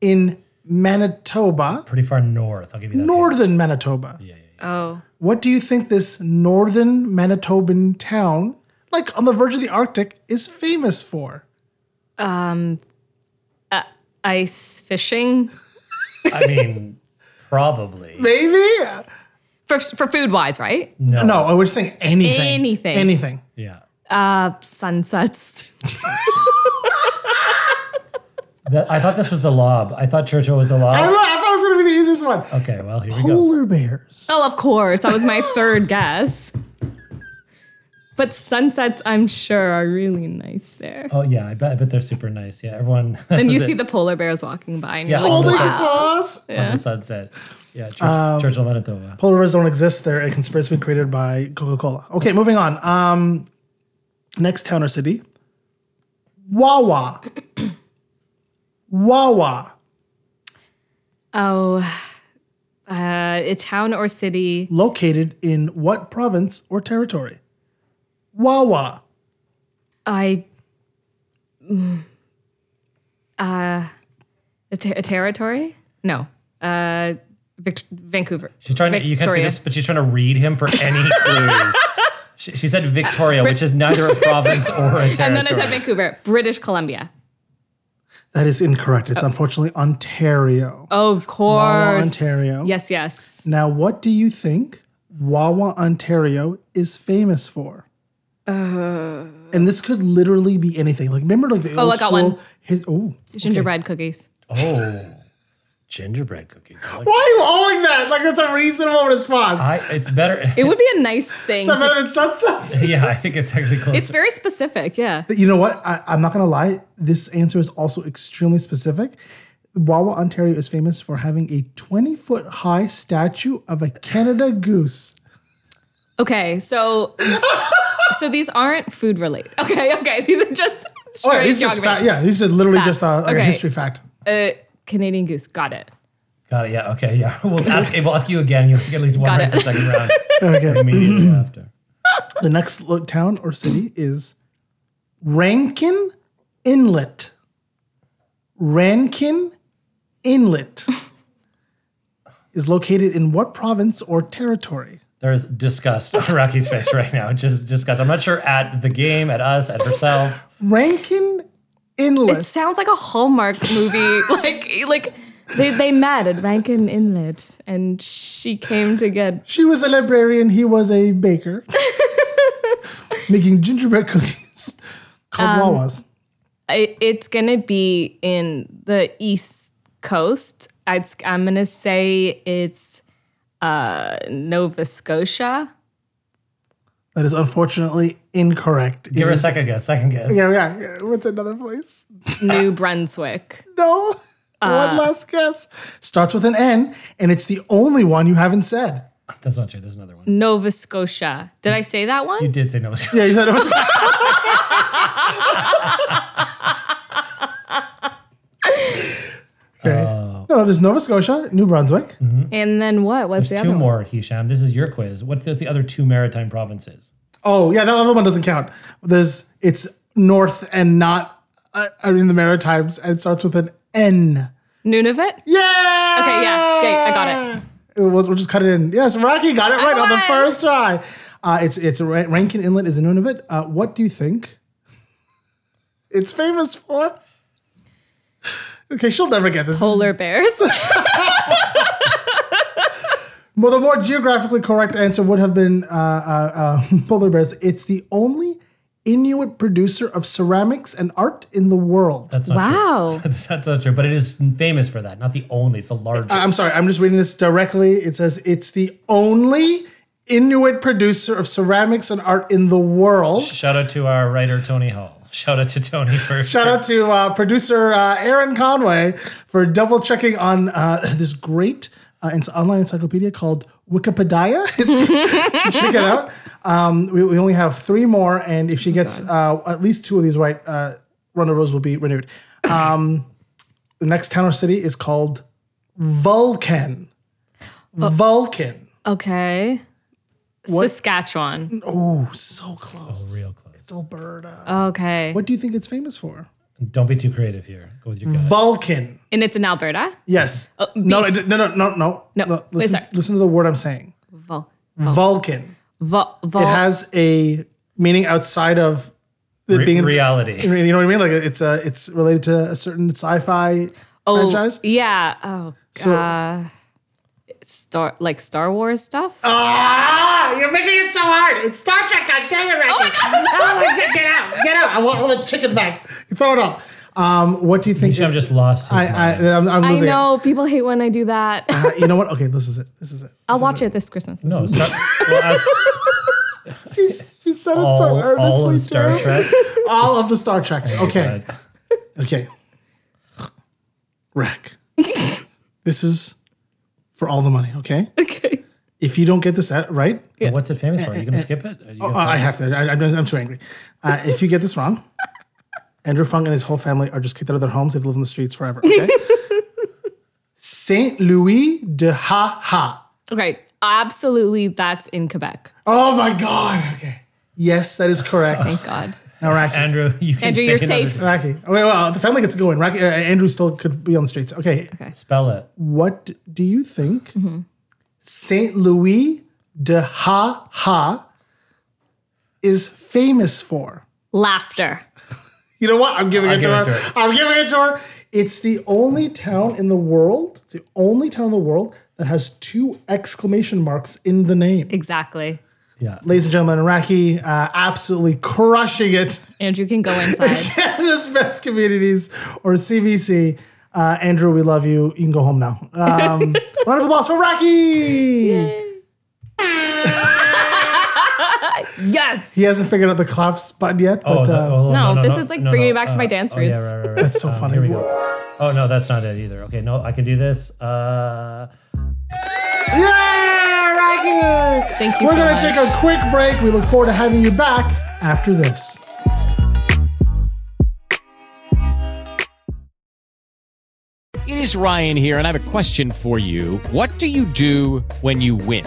S2: in Manitoba,
S1: Pretty far north. I'll give you that.
S2: northern Manitoba.
S3: Oh.
S2: What do you think this northern Manitoban town, like on the verge of the Arctic, is famous for?
S3: Ice fishing.
S1: I mean, probably.
S2: Maybe?
S3: For for food wise, right?
S1: No.
S2: No, I was saying anything.
S3: Anything.
S2: Anything.
S1: Yeah.
S3: Sunsets.
S1: That- I thought this was the lob. I thought Churchill was the
S2: I,
S1: lob.
S2: lo- I thought it was going to be the easiest one.
S1: Okay, well, here we go.
S2: Polar bears.
S3: Oh, of course. That was my third guess. But sunsets, I'm sure, are really nice there.
S1: Oh, yeah, I bet, I bet they're super nice. Yeah, everyone.
S3: and you see the polar bears walking by. And
S1: Yeah,
S3: you're like,
S1: all the,
S2: Holding the
S1: sun-
S2: claws.
S1: on the sunset. Yeah, Church,
S2: Um,
S1: Churchill, Manitoba.
S2: Polar bears don't exist. They're a conspiracy created by Coca Cola. Okay, moving on. Um, Next town or city Wawa. Wawa.
S3: oh, uh, a town or city.
S2: Located in what province or territory? Wawa.
S3: I. mm, Uh, a, ter- a territory? No. Uh, Vic- Vancouver.
S1: She's trying to, you can't see
S3: Victoria.
S1: this, but she's trying to read him for any clues. She, she said Victoria, which is neither a province or a territory.
S3: And then I said Vancouver, British Columbia.
S2: That is incorrect.
S3: Oh.
S2: It's unfortunately Ontario.
S3: Of course.
S2: Wawa, Ontario.
S3: Yes, yes.
S2: Now, what do you think Wawa, Ontario is famous for? and this could literally be anything. Like, remember, like the
S3: Uh. Oh, I
S2: old
S3: got
S2: school.
S3: one.
S2: His oh,
S3: Gingerbread cookies.
S1: Oh, gingerbread cookies. I like-
S2: why are you owing that? Like, that's a reasonable response.
S1: I, it's better.
S3: It would be a nice thing.
S2: Is that
S3: To,
S2: better than sunsets?
S1: yeah, I think it's actually close.
S3: it's very specific, yeah.
S2: But you know what? I, I'm not gonna lie. This answer is also extremely specific. Wawa, Ontario is famous for having a 20 foot high statue of a Canada goose.
S3: Okay, so so these aren't food related. Okay, okay, these are just
S2: Oh,
S3: straight
S2: yeah, these are just fact.
S3: geography.
S2: Yeah, these are literally
S3: Facts.
S2: just a, like a
S3: Okay.
S2: history fact.
S3: Uh, Canadian goose, got it.
S1: Got it. Yeah. Okay. Yeah. We'll ask. We'll ask you again. You have to get at least one
S3: Got
S1: right
S3: it.
S1: the second round. Immediately after.
S2: The next lo- town or city is Rankin Inlet. Rankin Inlet is located in what province or territory?
S1: There's disgust on Rocky's face right now. Just disgust. I'm not sure at the game, at us, at herself.
S2: Rankin Inlet.
S3: It sounds like a Hallmark movie. like like they, they met at Rankin Inlet and she came to get
S2: she was a librarian, he was a baker, making gingerbread cookies called Wawas.
S3: I, it's gonna be in the east coast. I'd, I'm gonna say it's uh, Nova Scotia.
S2: That is unfortunately incorrect.
S1: Give her a second guess. Second guess. Ah.
S2: Yeah, yeah. What's another place?
S3: New Brunswick.
S2: No. one last guess. Starts with an N, and it's the only one you haven't said.
S1: That's not true. There's another one.
S3: Nova Scotia. Did I say that one?
S1: You did say Nova Scotia.
S2: Yeah, you said it was. okay. no, no, there's Nova Scotia, New Brunswick.
S3: And then what? What's the
S1: There's
S3: other
S1: two
S3: one?
S1: more, Hisham. This is your quiz. What's the, the other two maritime provinces?
S2: Oh, yeah, that other one doesn't count. There's it's north and not uh, I mean the Maritimes, and it starts with an N.
S3: Nunavut?
S2: Yeah.
S3: Okay, yeah. Okay, I got it.
S2: We'll, we'll just cut it in. Yes, Rocky got it right on the
S3: won.
S2: first try. Uh, it's it's Ra- Rankin Inlet is in Nunavut. Uh, what do you think? It's famous for. Okay, she'll never get this.
S3: Polar bears.
S2: Well, the more geographically correct answer would have been uh, uh, uh, polar bears. It's the only Inuit producer of ceramics and art in the world.
S1: That's not true.
S3: wow.
S1: That's, that's not true. But it is famous for that. Not the only. It's the largest.
S2: I'm sorry, I'm just reading this directly. It says it's the only Inuit producer of ceramics and art in the world.
S1: Shout out to our writer Tony Hall. Shout out to Tony for
S2: Shout out to uh, producer uh, Aaron Conway for double checking on uh, this great uh, ens- online encyclopedia called Wikipedia. It's- check it out. Um, we, we only have three more, and if she gets uh, at least two of these right, uh, Ronda Rose will be renewed. Um, the next town or city is called Vulcan. Vulcan.
S3: Okay. Saskatchewan.
S2: Oh, so close. real
S1: close.
S2: It's Alberta.
S3: Okay.
S2: What do you think it's famous for?
S1: Don't be too creative here. Go with your
S2: Mm-hmm.
S1: gut.
S2: Vulcan.
S3: And it's in Alberta?
S2: Yes. no, no, no, no, no, no.
S3: Oh, No,
S2: Listen,
S3: wait, sorry. Oh.
S2: listen to the word I'm saying.
S3: Vol.
S2: Vulcan.
S3: Vol. Vol.
S2: It has a meaning outside of it
S1: Re-
S2: being.
S1: reality.
S2: You know what I mean? Like it's a, it's related to a certain sci-fi
S3: oh,
S2: franchise.
S3: Yeah. Oh,
S2: So-
S3: God. Star, like Star Wars stuff?
S2: Oh, Ah, you're making it so hard. It's Star Trek. God dang it, Rankin. Oh my God. get, get out. Get out. I want all the chicken back. You throw it up. Um, what do you think?
S1: Hisham
S2: it's-
S1: just lost his
S2: I, I,
S1: mind.
S2: I'm, I'm
S3: I
S2: losing it.
S3: know. People hate when I do that.
S2: Uh, you know what? Okay, this is it. This is it.
S3: I'll watch it this Christmas.
S1: no, Star, Oh, well, as
S2: She's, she said it so
S1: all,
S2: earnestly.
S1: all of Star
S2: too.
S1: Trek.
S2: All of the Star Treks. Okay.
S1: But
S2: Okay. Rack. this is for all the money, okay?
S3: Okay.
S2: If you don't get this at- right,
S1: What's it famous for? Are you going to skip it? Are you
S2: oh,
S1: gonna-
S2: I have to. I, I'm, I'm too angry. Uh, if you get this wrong, Andrew Fung and his whole family are just kicked out of their homes. They've lived on the streets forever, okay? Saint Louis de Ha Ha.
S3: Okay. Absolutely. That's in Quebec.
S2: Oh my God. Okay. Yes, that is correct.
S3: Thank God.
S2: Now, Racky.
S1: Andrew, you can
S3: Andrew,
S1: stay
S3: you're
S1: another-
S3: safe.
S2: Racky. Oh, Wait, well, the family gets going. Racky, uh, Andrew still could be on the streets. Okay.
S1: Spell it.
S2: What do you think Saint Louis de Ha Ha is famous for?
S3: Laughter.
S2: You know what? I'm giving
S1: I'll
S2: it
S1: give
S2: to
S1: it
S2: her.
S1: to her.
S2: I'm giving it to her. It's the only town in the world. It's the only town in the world that has two exclamation marks in the name.
S3: Exactly.
S2: Ladies and gentlemen, Raki uh, absolutely crushing it
S3: Andrew can go inside.
S2: Canada's Best Communities or CBC. Uh, Andrew, we love you. You can go home now. Um, round of applause for Rocky.
S3: yes.
S2: He hasn't figured out the claps button yet, but
S1: no,
S2: uh,
S1: oh,
S3: no, this is like bringing me back to my dance
S1: oh, yeah,
S3: roots.
S1: right, right, right.
S2: that's so
S1: Um,
S2: funny.
S1: Here we go. Oh no, that's not it either. Okay, no, I can do this. Uh,
S2: Yeah, Rocky.
S3: Thank you
S2: We're
S3: so
S2: gonna
S3: much.
S2: take a quick break. We look forward to having you back after this.
S7: It is Ryan here, and I have a question for you. What do you do when you win?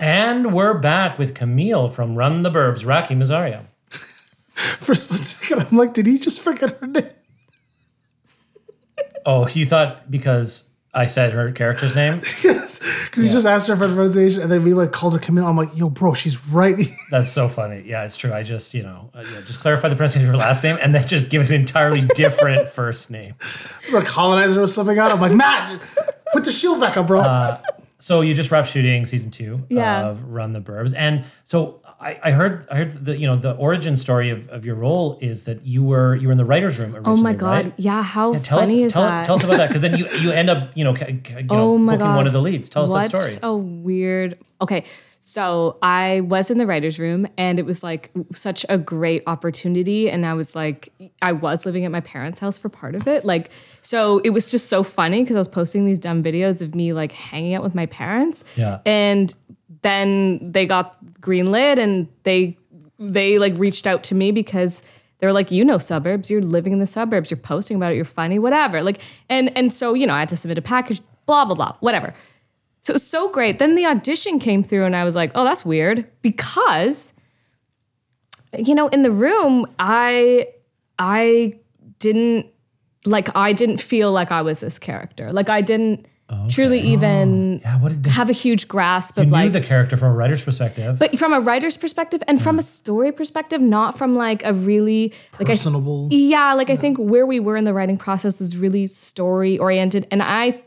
S1: and we're back with Camille from Run the Burbs, Rocky Mazzario.
S2: For a split second, I'm like, did he just forget her name?
S1: Oh, you thought because I said her character's name?
S2: Because he just asked her for the pronunciation and then we like called her Camille. I'm like, yo, bro, she's right.
S1: That's so funny. Yeah, it's true. I just, you know, uh, yeah, just clarify the pronunciation of her last name and then just give an entirely different first name.
S2: the colonizer was slipping out. I'm like, Matt, put the shield back up, bro.
S1: Uh, So you just wrapped shooting season two
S3: Yeah.
S1: of Run the Burbs, and so I, I heard I heard the you know the origin story of, of your role is that you were you were in the writers' room. Originally,
S3: Oh my god!
S1: right?
S3: Yeah, how
S1: Yeah, tell
S3: funny
S1: us
S3: is
S1: tell,
S3: that?
S1: tell us about that because then you you end up you know, ca- ca- you know
S3: oh my
S1: booking
S3: god!
S1: one of the leads. Tell us
S3: what
S1: that story.
S3: A weird. Okay, so I was in the writers' room, and it was like such a great opportunity, and I was like, I was living at my parents' house for part of it, like, so it was just so funny because I was posting these dumb videos of me like hanging out with my parents,
S1: Yeah.
S3: and then they got greenlit, and they they like reached out to me because they were like, you know, suburbs, you're living in the suburbs, you're posting about it, you're funny, whatever. Like, and and so, you know, I had to submit a package, blah, blah, blah, whatever. So it was so great. Then the audition came through and I was like, oh, that's weird. Because, you know, in the room, I I didn't like I didn't feel like I was this character. Like I didn't truly even
S1: Oh, yeah, what did they,
S3: have a huge grasp
S1: you
S3: of
S1: knew
S3: like
S1: the character from a writer's perspective?
S3: but from a writer's perspective and from a story perspective, not from like a really like I-
S2: Personable.
S3: yeah, like I think where we were in the writing process was really story oriented, and I,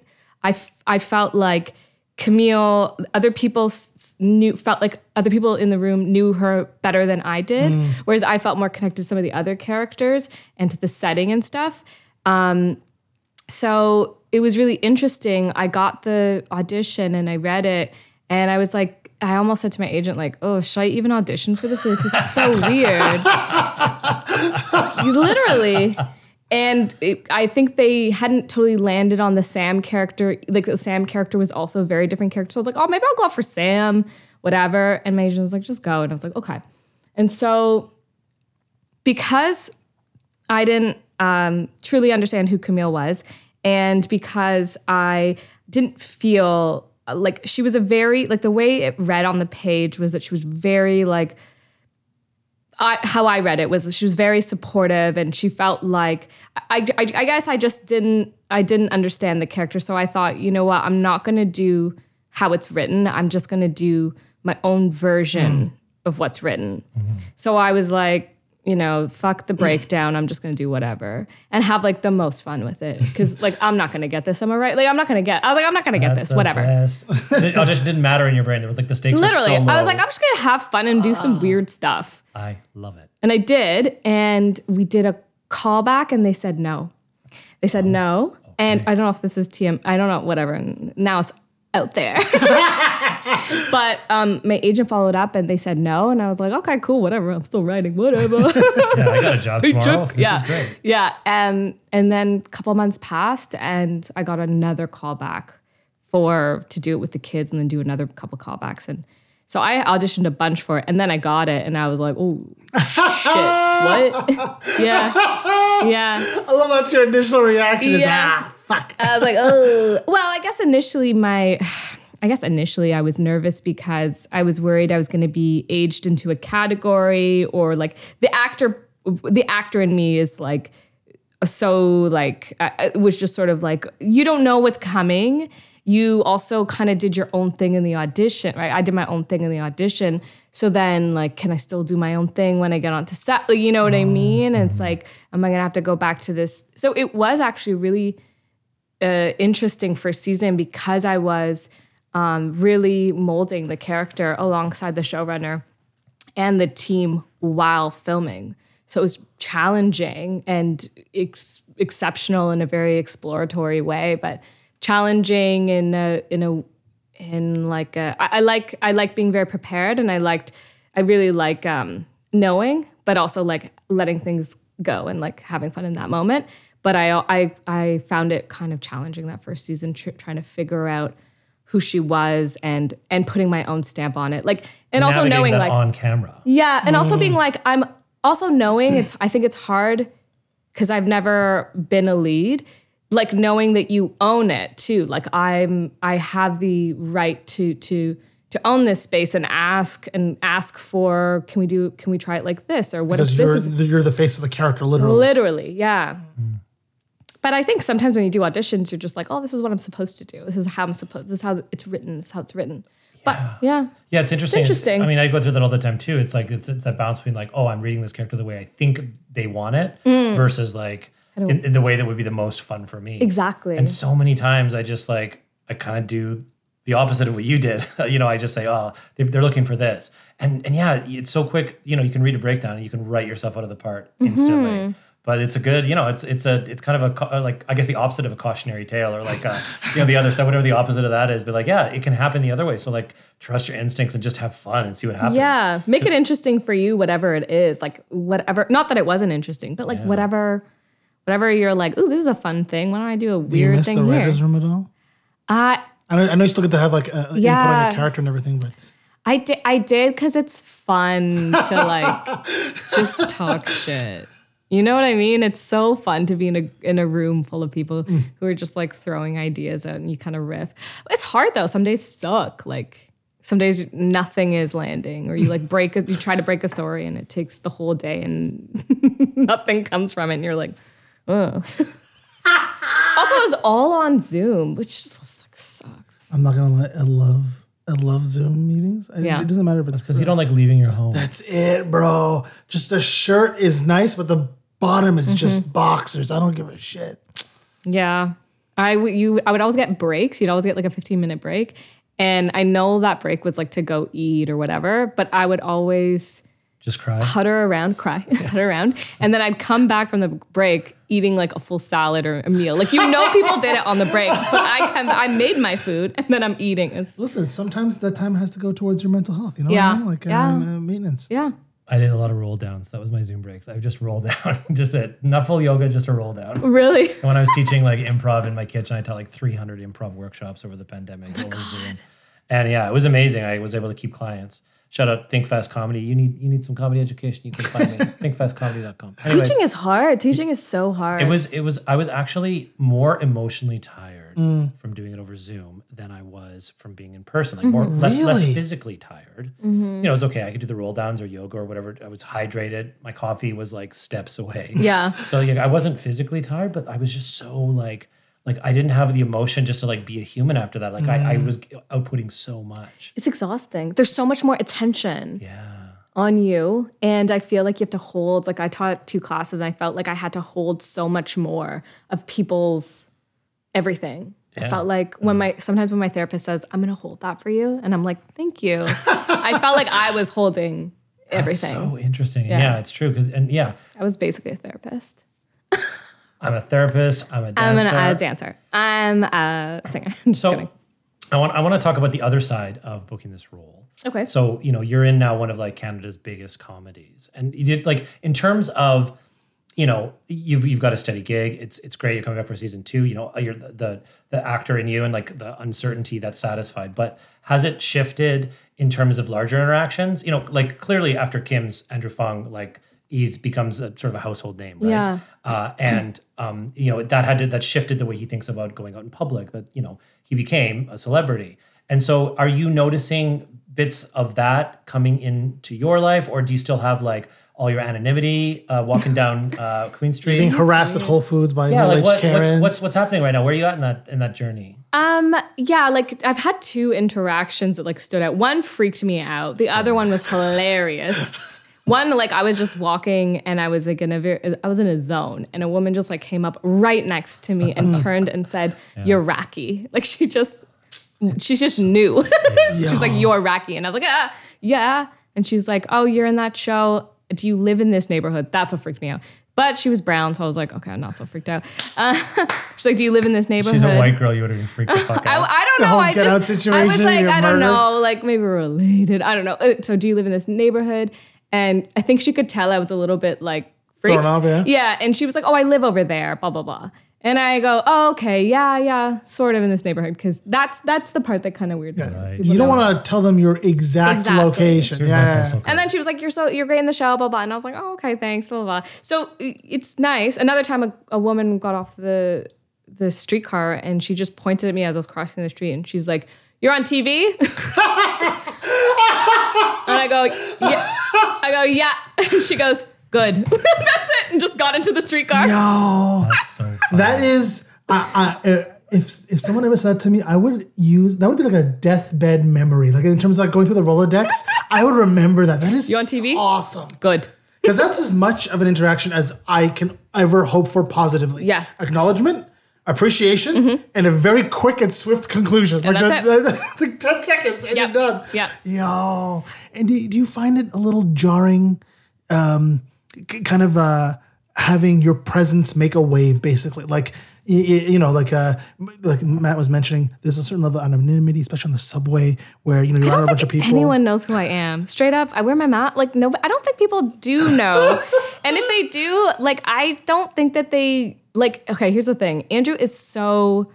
S3: I, f- I felt like Camille, other people s- s- knew felt like other people in the room knew her better than I did, whereas I felt more connected to some of the other characters and to the setting and stuff. Um, so it was really interesting. I got the audition and I read it, and I was like, I almost said to my agent, like, "Oh, should I even audition for this? Like, this is so weird." You literally. And it, I think they hadn't totally landed on the Sam character. Like the Sam character was also a very different character. So I was like, oh, maybe I'll go out for Sam, whatever. And my agent was like, just go. And I was like, okay. And so because I didn't um, truly understand who Camille was, and because I didn't feel uh, like she was a very like the way it read on the page was that she was very like I, how I read it was she was very supportive and she felt like I, I, I guess I just didn't I didn't understand the character so I thought you know what I'm not gonna do how it's written I'm just gonna do my own version of what's written so I was like you know fuck the breakdown I'm just gonna do whatever and have like the most fun with it because like I'm not gonna get this am I right like I'm not gonna get I was like I'm not gonna get
S1: That's
S3: this
S1: the
S3: whatever
S1: best. the audition didn't matter in your brain. There was like the stakes.
S3: literally
S1: were so
S3: I was
S1: low.
S3: like I'm just gonna have fun and do some weird stuff
S1: I love it.
S3: and I did. And we did a callback and they said no. They said no. And I don't know if this is TM, I don't know, whatever. And now it's out there. but um, my agent followed up and they said no. And I was like, okay, cool, whatever. I'm still writing, whatever.
S1: Yeah, I got a job tomorrow. This
S3: yeah.
S1: is great.
S3: Yeah. Um, and then a couple months passed and I got another callback for to do it with the kids and then do another couple callbacks. And so I auditioned a bunch for it and then I got it and I was like, oh shit. What? yeah. Yeah.
S2: I love that's your initial reaction. Is,
S3: Yeah.
S2: ah, fuck.
S3: I was like, oh. Well, I guess initially my, I guess initially I was nervous because I was worried I was going to be aged into a category or like the actor, the actor in me is like so like I- I- it was just sort of like you don't know what's coming. You also kind of did your own thing in the audition, right? I did my own thing in the audition. So then, like, can I still do my own thing when I get onto set? Like, you know what I mean? And it's like, am I gonna have to go back to this? So it was actually really uh, interesting first season because I was um, really molding the character alongside the showrunner and the team while filming. So it was challenging and ex- exceptional in a very exploratory way, but challenging in a in a in like a, I, I like I like being very prepared, and I liked I really like um, knowing, but also like letting things go and like having fun in that moment. But I I I found it kind of challenging that first season, tr- trying to figure out who she was and and putting my own stamp on it, like and also
S1: Navigating
S3: knowing
S1: that
S3: like
S1: on camera.
S3: yeah, and also
S2: Mm.
S3: being like, I'm also knowing it's. I think it's hard because I've never been a lead. Like knowing that you own it too. Like I'm, I have the right to to to own this space and ask and ask for. Can we do? Can we try it like this or what if
S2: Because
S3: this
S2: you're,
S3: is
S2: you're the face of the character, literally.
S3: literally? Yeah. But I think sometimes when you do auditions, you're just like, oh, this is what I'm supposed to do. This is how I'm supposed. This is how it's written. This is how it's written. But yeah,
S1: Yeah, it's interesting.
S3: interesting.
S1: I mean, I go through that all the time too. It's like it's, it's that balance between like, oh, I'm reading this character the way I think they want it,
S3: Mm.
S1: versus like in, in the way that would be the most fun for me.
S3: exactly.
S1: And so many times I just like I kind of do the opposite of what you did. you know, I just say, oh, they, they're looking for this, and and yeah, it's so quick. You know, you can read a breakdown and you can write yourself out of the part instantly. But it's a good, you know, it's it's a it's kind of a ca- like I guess the opposite of a cautionary tale or like uh you know the other side, whatever the opposite of that is. But like, yeah, it can happen the other way. So like, trust your instincts and just have fun and see what happens.
S3: Yeah, make it interesting for you, whatever it is. Like whatever, not that it wasn't interesting, but like whatever, whatever you're like, ooh, this is a fun thing. Why don't I do a
S2: Do you
S3: weird
S2: miss the
S3: thing here?
S2: writers' room at all?
S3: I
S2: I, know- I know you still get to have like a, a input on
S3: Yeah.
S2: your character and everything, but
S3: I did I did because it's fun to like just talk shit. You know what I mean? It's so fun to be in a in a room full of people who are just like throwing ideas out and you kind of riff. It's hard though. Some days suck. Like some days nothing is landing, or you like break a, you try to break a story and it takes the whole day and nothing comes from it, and you're like, ugh. also, it was all on Zoom, which just like sucks.
S2: I'm not gonna lie. I love I love Zoom meetings. I,
S3: Yeah.
S2: It doesn't matter if it's
S1: because you don't like leaving your home.
S2: That's it, bro. Just the shirt is nice, but the bottom is
S3: Mm-hmm.
S2: just boxers. I don't give a shit.
S3: Yeah. I would you I would always get breaks. You'd always get like a 15 minute break. And I know that break was like to go eat or whatever, but I would always
S1: Just cry.
S3: putter around, cry, putter around. And then I'd come back from the break eating like a full salad or a meal. Like you know people did it on the break, but I come I made my food and then I'm eating. It's,
S2: Listen, sometimes that time has to go towards your mental health. You know, what
S3: Yeah.
S2: I mean? like
S3: Yeah.
S2: um, uh, maintenance.
S3: yeah.
S1: I did a lot of roll downs. That was my Zoom breaks. I would just roll down, just it, not full yoga, just a roll down.
S3: Really?
S1: And when I was teaching like improv in my kitchen, I taught like 300 improv workshops over the pandemic over Zoom. And yeah, it was amazing. I was able to keep clients. Shout out Think Fast Comedy. You need you need some comedy education. You can find me at thinkfastcomedy.com. Anyways,
S3: Teaching is hard. Teaching is so hard.
S1: it was it was I was actually more emotionally tired
S3: Mm.
S1: from doing it over Zoom than I was from being in person. Like more
S3: Mm-hmm.
S1: less less
S2: Really?
S1: physically tired. You know, it was okay. I could do the roll downs or yoga or whatever. I was hydrated. My coffee was like steps away.
S3: yeah.
S1: So like I wasn't physically tired, but I was just so like like I didn't have the emotion just to like be a human after that. Like I,
S3: Mm.
S1: I was outputting so much.
S3: It's exhausting. There's so much more attention.
S1: Yeah.
S3: on you and i feel like you have to hold like i taught two classes and i felt like i had to hold so much more of people's everything i felt like when my sometimes when my therapist says i'm gonna hold that for you and i'm like thank you i felt like i was holding everything
S1: So interesting. And Yeah,
S3: Yeah.
S1: it's true. Cause and yeah,
S3: i was basically a therapist
S1: I'm a therapist. I'm a
S3: i'm
S1: dancer.
S3: an, a dancer i'm a singer i'm just
S1: so
S3: kidding
S1: I want I want to talk about the other side of booking this role.
S3: okay
S1: So, you know, you're in now one of like Canada's biggest comedies. And you did like in terms of, you know, you've you've got a steady gig. It's it's great. You're coming back for season two. You know, uh, you're the the, the actor in you and like the uncertainty that's satisfied. But has it shifted in terms of larger interactions? You know, like clearly after Kim's Andrew Fong, like he's becomes a sort of a household name, right?
S3: Yeah.
S1: uh, and um, you know that had to, that shifted the way he thinks about going out in public. That you know he became a celebrity, and so are you noticing bits of that coming into your life, or do you still have like all your anonymity uh, walking down uh, Queen Street?
S2: Being harassed at Whole Foods by
S1: Yeah, like
S2: middle-aged
S1: what, what,
S2: Karens.
S1: what's what's happening right now? Where are you at in that in that journey?
S3: Um, yeah, like I've had two interactions that like stood out. One freaked me out. The other one was hilarious. one like I was just walking and I was like in a very, I was in a zone and a woman just like came up right next to me and turned and said, "You're Iraqi." Like she just she just knew. she was like, "You're Iraqi," and I was like, "Ah, yeah." And she's like, "Oh, you're in that show. Do you live in this neighborhood?" That's what freaked me out. But she was brown, so I was like, "Okay, I'm not so freaked out." Uh, she's like, "Do you live in this neighborhood?"
S1: She's a white girl. You would have been freaked the fuck
S3: I,
S1: out.
S3: I don't
S2: The
S3: know.
S2: whole
S3: I
S2: get
S3: just
S2: out
S3: I was
S2: situation,
S3: like,
S2: you're
S3: I
S2: murdered.
S3: don't know, like maybe we're related. I don't know. Uh, So do you live in this neighborhood? And I think she could tell I was a little bit like freaked.
S2: Thrown off, yeah.
S3: and she was like, Oh, I live over there, blah, blah, blah. And I go, Oh, okay, yeah, yeah, sort of in this neighborhood. Cause that's that's the part that kind of weird. me.
S2: You don't want to tell them your exact
S3: Exactly.
S2: location.
S1: Here's my
S2: yeah.
S1: postal
S3: And
S1: code.
S3: then she was like, "You're so you're great in the show, blah blah." And I was like, "Oh, okay, thanks, blah blah." blah. So i- it's nice. Another time, a, a woman got off the the streetcar and she just pointed at me as I was crossing the street, and she's like, "You're on TV." and I go, "Yeah." I go, "Yeah." And she goes, "Good." That's it, and just got into the streetcar.
S2: Oh,
S1: That's so
S2: That is, I, I, uh, if if someone ever said that to me, I would use that would be like a deathbed memory. Like in terms of like going through the Rolodex, I would remember that. That is
S3: You on TV?
S2: awesome.
S3: Good.
S2: Because that's as much of an interaction as I can ever hope for positively.
S3: Yeah.
S2: Acknowledgement, appreciation, and a very quick and swift conclusion.
S3: And
S2: like,
S3: that's
S2: that- like 10 seconds and
S3: Yep.
S2: you're done.
S3: Yep.
S2: Yo. And do, do you find it a little jarring, um, k- kind of uh, having your presence make a wave, basically? Like, y- y- you know, like uh, m- like Matt was mentioning, there's a certain level of anonymity, especially on the subway, where you know you're around a bunch of people.
S3: Anyone knows who I am. Straight up, I wear my mask. Like no, I don't think people do know. and if they do, like I don't think that they like. Okay, here's the thing. Andrew is so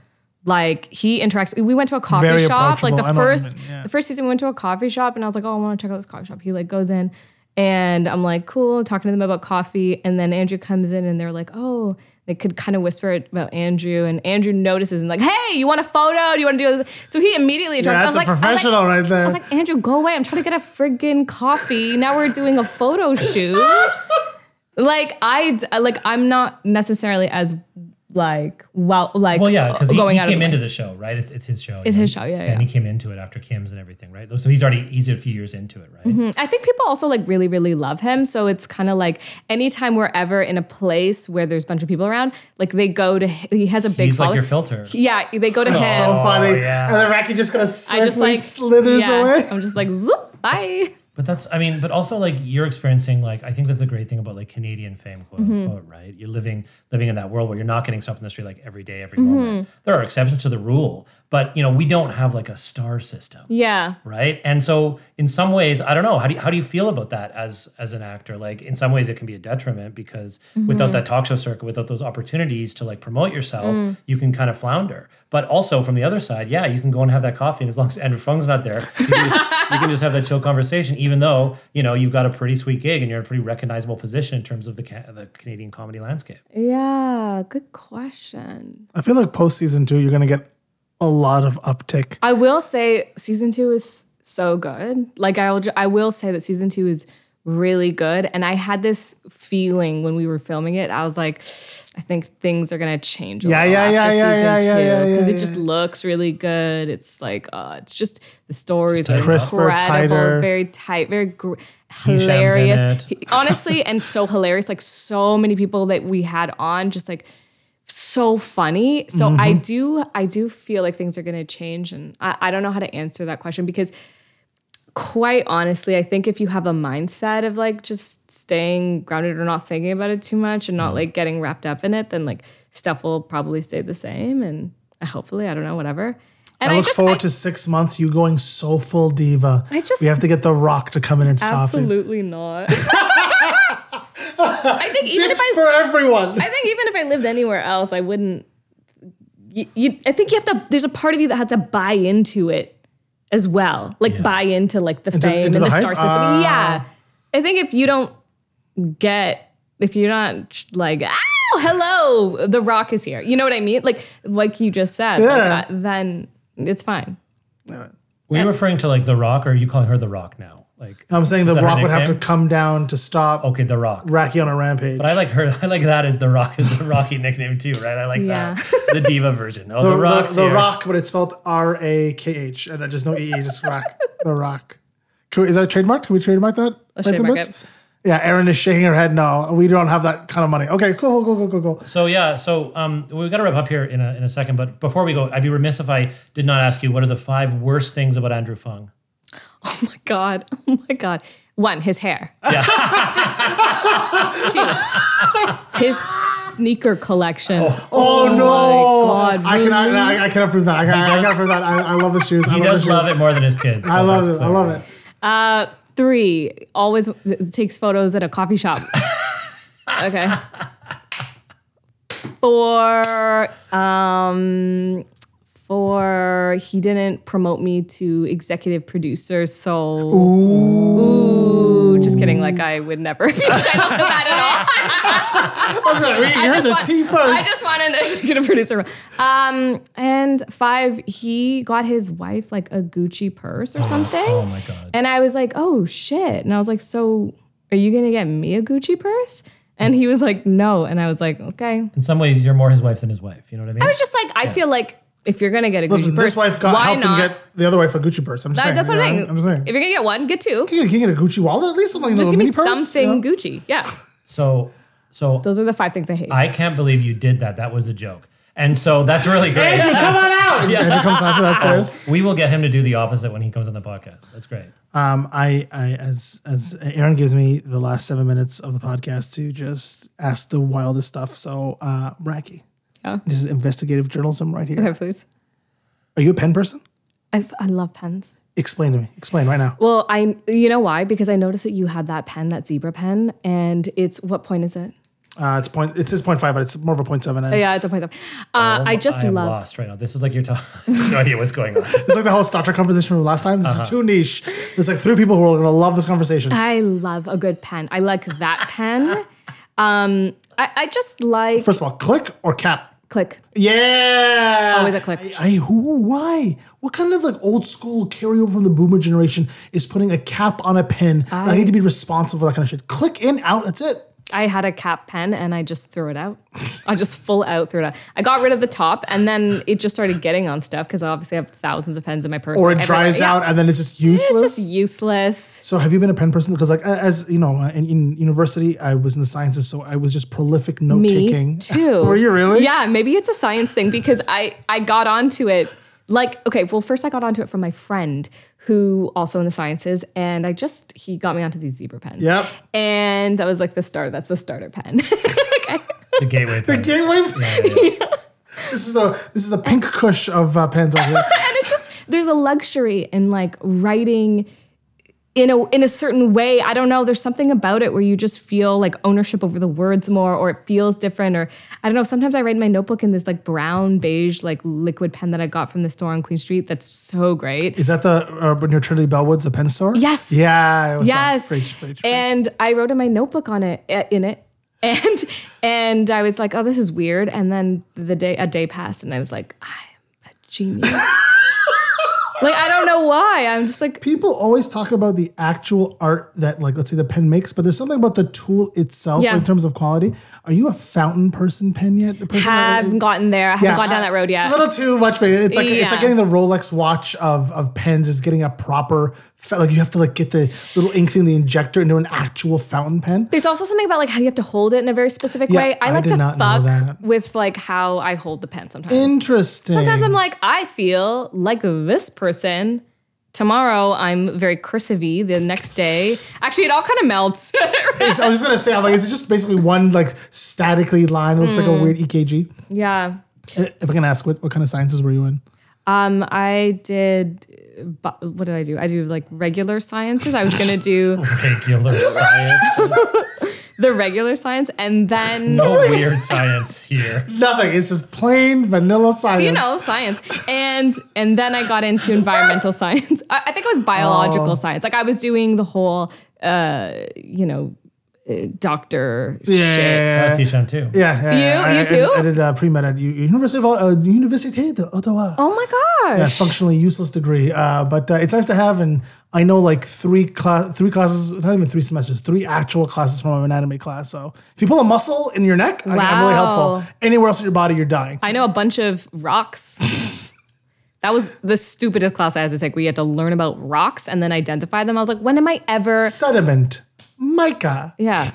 S3: like he interacts. We went to a coffee
S2: Very
S3: shop. Like
S2: approachable. I
S3: the
S2: know,
S3: first
S2: yeah.
S3: the first season, we went to a coffee shop, and I was like, oh, I want to check out this coffee shop. He like goes in. And I'm like, cool, talking to them about coffee. And then Andrew comes in and they're like, oh, they could kind of whisper about Andrew. And Andrew notices and like, hey, you want a photo? Do you want to do this? So he immediately
S2: Yeah,
S3: interrupts.
S2: that's a
S3: I was like, I was like-
S2: professional right there.
S3: I was like, Andrew, go away. I'm trying to get a friggin' coffee. Now we're doing a photo shoot. like I d- like I'm not necessarily as like well like
S1: Well, yeah, because he,
S3: going
S1: he
S3: out
S1: came
S3: of
S1: into
S3: the way.
S1: the show, right? It's, it's his show.
S3: It's
S1: yeah.
S3: his show, yeah, yeah.
S1: And he came into it after Kim's and everything, right? So he's already he's a few years into it, right?
S3: I think people also like really really love him, so it's kind of like anytime we're ever in a place where there's a bunch of people around, like they go to h- he has a big
S1: He's like
S3: follow-
S1: your filter.
S3: Yeah, they go to him.
S2: so funny.
S1: yeah.
S2: And then Racky just kind of
S3: I
S2: swiftly
S3: just like
S2: slithers
S3: yeah,
S2: away.
S3: I'm just like zoop, bye.
S1: But that's, I mean, but also like you're experiencing like I think that's the great thing about like Canadian fame, quote unquote, right? You're living living in that world where you're not getting stopped in the street like every day, every moment. There are exceptions to the rule, but you know we don't have like a star system,
S3: Yeah.
S1: right? And so in some ways, I don't know how do you, how do you feel about that as as an actor? Like in some ways, it can be a detriment because without that talk show circuit, without those opportunities to like promote yourself, you can kind of flounder. But also from the other side, yeah, you can go and have that coffee, and as long as Andrew Fung's not there, you can just, you can just have that chill conversation. Even though you know you've got a pretty sweet gig and you're in a pretty recognizable position in terms of the ca- the Canadian comedy landscape.
S3: Yeah, good question.
S2: I feel like post season two, you're gonna get a lot of uptick.
S3: I will say season two is so good. Like I will, I will say that season two is really good. And I had this feeling when we were filming it. I was like, I think things are gonna change. A
S2: Yeah,
S3: little
S2: yeah,
S3: after
S2: yeah,
S3: season
S2: yeah, yeah,
S3: two
S2: yeah, yeah,
S3: because
S2: yeah,
S3: it just looks really good. It's like, uh, it's just the stories are
S2: Crisper,
S3: incredible,
S2: tighter.
S3: very tight, very gr-
S1: in
S3: hilarious.
S1: it.
S3: He- honestly, and so hilarious. Like so many people that we had on, just like so funny. So
S2: Mm-hmm.
S3: I do I do feel like things are gonna change and I, I don't know how to answer that question because quite honestly, I think if you have a mindset of like just staying grounded or not thinking about it too much and
S2: Mm-hmm.
S3: not like getting wrapped up in it, then like stuff will probably stay the same and hopefully, I don't know, whatever. And
S2: I look
S3: just-
S2: forward
S3: I-
S2: to six months. You going so full diva.
S3: I just-
S2: we have to get the Rock to come in and stop it.
S3: absolutely not. I think even if
S2: Tips
S3: I
S2: for everyone.
S3: I think even if I lived anywhere else, I wouldn't. You, you, I think you have to. There's a part of you that has to buy into it as well, like buy into like the
S2: into
S3: fame and
S2: the
S3: the,
S2: hype?
S3: star system.
S2: Ah.
S3: yeah, I think if you don't get, if you're not like, oh, hello, The Rock is here. You know what I mean? Like, like you just said. like,
S2: Yeah.
S3: uh, then it's fine.
S1: Were you referring to like The Rock, or are you calling her The Rock now? Like
S2: I'm saying the
S1: that her
S2: Rock would have to
S1: nickname?
S2: come down to stop
S1: okay, The Rock.
S2: Racky on a rampage.
S1: But I like her. I like that as the Rock is the Rocky nickname too, right? I like that the diva version. Oh, the,
S2: the, the,
S1: Rock's
S2: the
S1: here.
S2: Rock, but it's spelled R A K H, and then just no E E, just Rock. the Rock. Can we, is that trademarked? Can we trademark that? Bits and
S3: trademark
S2: bits? Yeah, Erin is shaking her head. No, we don't have that kind of money. Okay, cool, cool, cool, cool, cool.
S1: So yeah, so um, we've got to wrap up here in a, in a second. But before we go, I'd be remiss if I did not ask you what are the five worst things about Andrew Fung.
S3: Oh my god. Oh my god. One, his hair. Two, his sneaker collection. Oh,
S2: Oh,
S3: my god.
S2: I
S3: really?
S2: cannot. I, I cannot prove that. I cannot, I cannot prove that. I, I love the shoes. I
S1: He
S2: love
S1: does
S2: the shoes.
S1: love it more than his kids. so
S2: I love
S1: that's
S2: it. I
S1: clear.
S2: love it.
S3: Uh, Three, always takes photos at a coffee shop. okay. Four, um, four, he didn't promote me to executive producer, so. Ooh, Just kidding. Like, I would never be entitled to that at all.
S2: Okay, you're
S3: just
S2: the
S3: want-
S2: T
S3: I
S2: first.
S3: just want an executive producer. Um, and five, he got his wife like a Gucci purse or something.
S1: Oh my god.
S3: And I was like, oh shit. And I was like, so are you gonna get me a Gucci purse? And he was like, no. And I was like, okay.
S1: In some ways, you're more his wife than his wife. You know what I mean?
S3: I was just like, I feel like if you're gonna get a Gucci
S2: Listen,
S3: purse,
S2: this wife got
S3: why
S2: helped him
S3: not?
S2: get the other wife a Gucci purse. I'm just
S3: That-
S2: saying.
S3: that's what I'm
S2: you know,
S3: saying.
S2: I'm just saying.
S3: If you're gonna get one, get two.
S2: you can get a Gucci wallet at least, something
S3: Just
S2: little
S3: give me
S2: mini purse,
S3: something
S2: you know?
S3: Gucci. Yeah.
S1: so so.
S3: Those are the five things I hate.
S1: I can't believe you did that. That was a joke. And so that's really great.
S2: Come on out! Yeah. Andrew comes down the stairs.
S1: we will get him to do the opposite when he comes on the podcast. That's great.
S2: Um, I, I, as as Aaron gives me the last seven minutes of the podcast to just ask the wildest stuff. So, uh, Racky,
S3: Yeah.
S2: this is investigative journalism right here.
S3: Okay, please.
S2: Are you a pen person?
S3: I, I love pens.
S2: Explain to me. Explain right now.
S3: Well, I you know why? Because I noticed that you had that pen, that zebra pen, and it's what point is it?
S2: Uh, it's point. It says point five, but it's more of a point seven. And
S3: Oh, yeah, it's a point. of-
S2: Oh
S3: Uh, I just
S1: Oh, I am
S3: love.
S1: lost right now. This is like your time. I have no idea what's going on.
S2: It's like the whole Star Trek conversation from last time. This is too niche. There's like three people who are gonna love this conversation.
S3: I love a good pen. I like that pen. Um, I, I just like
S2: First of all, click or cap.
S3: click.
S2: Yeah.
S3: Always a click.
S2: I, I- who why? What kind of like old school carryover from the boomer generation is putting a cap on a pen? I, need to be responsible for that kind of shit. Click in, out, that's it.
S3: I had a cap pen and I just threw it out. I just full out threw it out. I got rid of the top and then it just started getting on stuff because I obviously have thousands of pens in my purse.
S2: Or it
S3: Everywhere-
S2: dries
S3: yeah.
S2: out and then it's just
S3: It's
S2: useless.
S3: just useless.
S2: so have you been a pen person? Because like a- as you know, uh, in, in university I was in the sciences, so I was just prolific note
S3: Me
S2: taking.
S3: too.
S2: Were you really?
S3: Yeah, maybe it's a science thing because I I got onto it like okay, well first I got onto it from my friend who also in the sciences and I just he got me onto these zebra pens.
S2: Yep.
S3: And that was like the start. That's the starter pen. okay.
S1: The gateway. the
S2: Gateway. This is the this is the pink kush of uh, pens over here.
S3: and it's just there's a luxury in like writing in a in a certain way. I don't know. There's something about it where you just feel like ownership over the words more, or it feels different, or I don't know. Sometimes I write in my notebook in this like brown beige like liquid pen that I got from the store on Queen Street. That's so great.
S2: Is that the uh, near Trinity Bellwoods, the pen store?
S3: Yes.
S2: Yeah. It was That.
S3: Yes.
S2: Preach, preach, preach.
S3: and I wrote in my notebook on it eh, in it. And and I was like, oh, this is weird. And then the day a day passed and I was like, I'm a genius. like I don't know why. I'm just like
S2: people always talk about the actual art that like let's say the pen makes but there's something about the tool itself
S3: Yeah.
S2: in terms of quality are you a fountain person pen yet the person that-
S3: haven't gotten there. I haven't gone down
S2: I-
S3: that road yet.
S2: It's a little too much, but it's like it's
S3: Yeah.
S2: like getting the Rolex watch of of pens is getting a proper fa- like you have to like get the little ink thing, the injector into an actual fountain pen.
S3: There's also something about like how you have to hold it in a very specific
S2: Yeah,
S3: way. I,
S2: I
S3: like
S2: did
S3: to
S2: not know
S3: fuck
S2: that.
S3: with like how I hold the pen sometimes.
S2: Interesting.
S3: sometimes I'm like, I feel like this person. Tomorrow I'm very cursivy. The next day, actually, it all kind of melts.
S2: I was just gonna say, I'm like, is it just basically one like statically line? It looks like a weird EKG.
S3: yeah.
S2: Uh, If I can ask, what, what kind of sciences were you in?
S3: Um, I did. uh, bi- What did I do? I do like regular sciences. I was gonna do
S1: regular science.
S3: the regular science, and then
S1: No weird science here.
S2: Nothing. It's just plain vanilla science.
S3: you know science and and then i got into environmental science I, I think it was
S2: Oh.
S3: biological science like i was doing the whole uh you know uh, doctor shit
S1: I see Sean too.
S2: Yeah, yeah, yeah.
S3: You-
S2: I-
S3: you
S2: I,
S3: too?
S2: I, did uh, pre med at U- University of uh, Université de Ottawa.
S3: oh my
S2: A
S3: gosh
S2: functionally useless degree, uh, but uh, it's nice to have. And I know like three class, three classes, not even three semesters, three actual classes from an anatomy class. So if you pull a muscle in your neck, I- I'm really
S3: Wow.
S2: helpful. Anywhere else in your body, you're dying.
S3: i know a bunch of rocks that was the stupidest class i had to take where you had to learn about rocks and then identify them i was like when am i ever
S2: Sediment, mica.
S3: yeah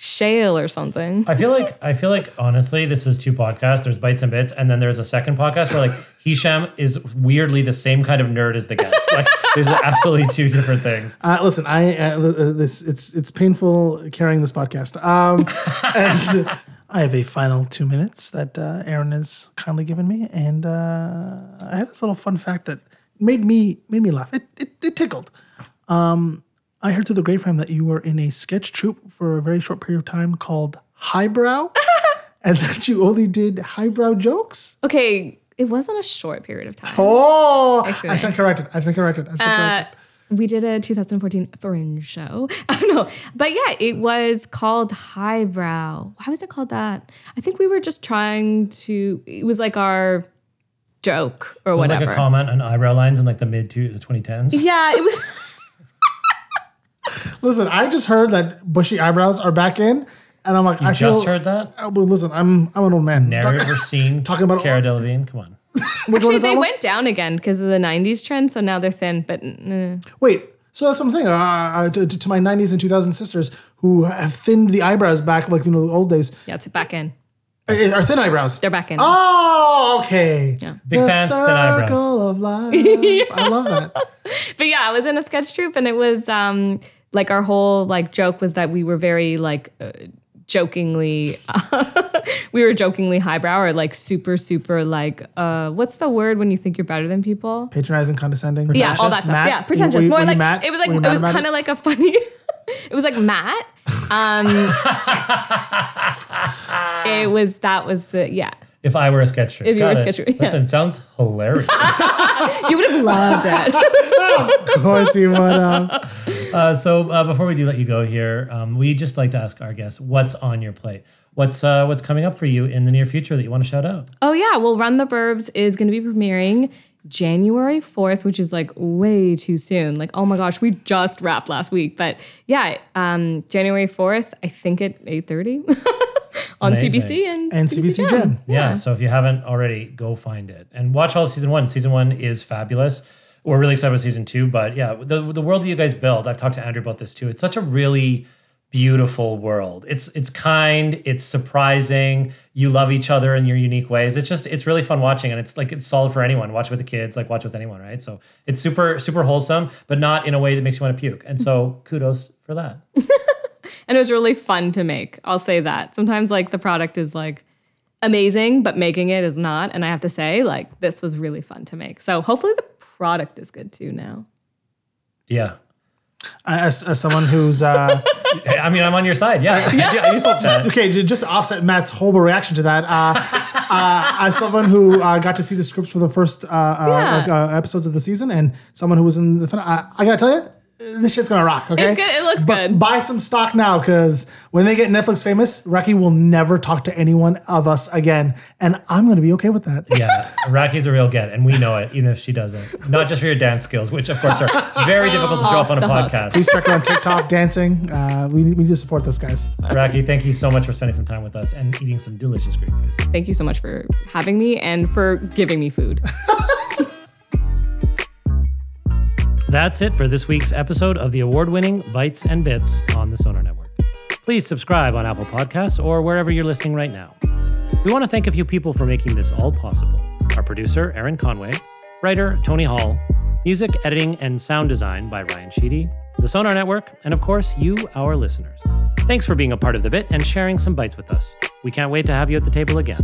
S3: shale or something
S1: I feel like I feel like honestly, this is two podcasts. There's bites and bits, and then there's a second podcast where like Hisham is weirdly the same kind of nerd as the guest. Like there's absolutely two different things.
S2: Uh, listen, I uh, li- uh, this it's it's painful carrying this podcast. Um, and I have a final two minutes that uh, Aaron has kindly given me, and uh, I have this little fun fact that made me made me laugh. It it, it tickled. Um, I heard through the grapevine that you were in a sketch troupe for a very short period of time called Highbrow, and that you only did highbrow jokes.
S3: okay it wasn't a short period of time
S2: Oh, I
S3: Excellent.
S2: stand corrected. I stand corrected. I stand corrected.
S3: we did a 2014 Fringe show. Oh no, but yeah, it was called Highbrow. Why was it called that? I think we were just trying to. It was like our joke or
S1: It was
S3: whatever.
S1: like a comment on eyebrow lines in like the mid to the 2010s.
S3: yeah, it was.
S2: Listen, I just heard that bushy eyebrows are back in. and I'm like,
S1: You
S2: I
S1: just
S2: feel,
S1: heard that?
S2: Oh, but listen, I'm I'm an old man.
S1: Narrative or scene?
S2: talking about-
S1: Cara Delevingne. Come on.
S2: Which one
S3: Actually,
S2: is that
S3: they
S2: one?
S3: went down again because of the 90s trend, so now they're thin, but mm,
S2: Wait, so that's what I'm saying. Uh, uh, to, to my 90s and 2000s sisters who have thinned the eyebrows back, like you know, the old days,
S3: yeah, it's back in.
S2: uh, are thin eyebrows.
S3: They're back in.
S2: Oh, okay.
S3: Yeah.
S1: Big
S2: the
S1: pants, thin eyebrows.
S2: circle of life. I love that.
S3: but yeah, I was in a sketch troupe, and it was um, like our whole like joke was that we were very like uh, jokingly, we were jokingly highbrow or like super super like uh, what's the word when you think you're better than people?
S2: Patronizing, condescending.
S3: Yeah, all that stuff.
S2: Matt,
S3: yeah, pretentious.
S2: were you-
S3: More
S2: were you
S3: like
S2: Matt?
S3: it was like
S2: Were you
S3: it
S2: mad
S3: was
S2: about
S3: kind of like a funny. it was like Matt. Um, it was that was the yeah.
S1: If I were a sketcher.
S3: If you were a
S1: Got it.
S3: sketcher, yeah.
S1: Listen, sounds hilarious.
S3: You would have loved it.
S2: Of course you would have.
S1: Uh, so uh, before we do let you go here, um, we just like to ask our guests what's on your plate. What's uh, what's coming up for you in the near future that you want to shout out?
S3: Oh yeah, well, Run the Burbs is going to be premiering January fourth, which is like way too soon. Like, oh my gosh, we just wrapped last week, but yeah, um, January fourth, I think at eight thirty on
S1: Amazing.
S3: CBC and,
S2: And CBC
S3: Gem.
S2: Jim.
S1: Yeah. So if you haven't already, go find it and watch all of season one. Season one is fabulous. We're really excited about season two, but yeah, the the world that you guys build. I've talked to Andrew about this too. It's such a really beautiful world. It's it's kind. It's surprising. You love each other in your unique ways. It's just it's really fun watching, and it's like it's solid for anyone. Watch with the kids, like watch with anyone, right? So it's super super wholesome, but not in a way that makes you want to puke. And so kudos for that.
S3: and it was really fun to make. I'll say that. Sometimes like the product is like amazing, but making it is not. And I have to say, like this was really fun to make. So hopefully the product is good too now.
S1: Yeah.
S2: As, as someone who's uh,
S1: I mean, I'm on your side. Yeah, I, do, I do hope that.
S2: okay, ju- just to offset Matt's horrible reaction to that, uh, uh, as someone who uh, got to see the scripts for the first uh, uh,
S3: Yeah.
S2: like, uh, episodes of the season, and someone who was in the, fin- uh, I, I gotta tell you, this shit's gonna rock. Okay,
S3: It's good. It looks
S2: But
S3: good.
S2: Buy some stock now, because when they get Netflix famous, Rocky will never talk to anyone of us again, and I'm gonna be okay with that.
S1: Yeah, Rocky's a real get, and we know it, even if she doesn't. Not just for your dance skills, which of course are very difficult to show off on a podcast.
S2: Please check her on TikTok dancing. Uh, we, need- we need to support this, guys.
S1: Rocky, thank you so much for spending some time with us and eating some delicious Greek food.
S3: Thank you so much for having me and for giving me food.
S1: That's it for this week's episode of the award-winning Bites and Bits on the Sonar Network. Please subscribe on Apple Podcasts or wherever you're listening right now. We want to thank a few people for making this all possible. Our producer, Aaron Conway, writer, Tony Hall, music, editing, and sound design by Ryan Sheedy, the Sonar Network, and of course, you, our listeners. Thanks for being a part of the bit and sharing some bites with us. We can't wait to have you at the table again.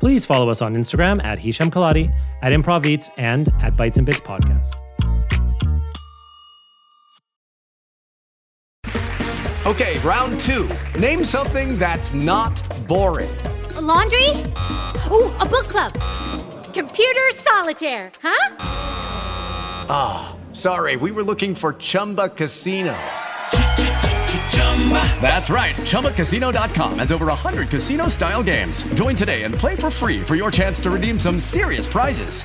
S1: Please follow us on Instagram at Hisham Kaladi, at Improv Eats, and at Bites and Bits Podcast.
S8: Okay, round two. Name something that's not boring.
S9: laundry? Ooh, a book club. Computer solitaire, huh?
S8: Sorry, we were looking for Chumba Casino. That's right. ChumbaCasino.com has over 100 casino style games. Join today and play for free for your chance to redeem some serious prizes.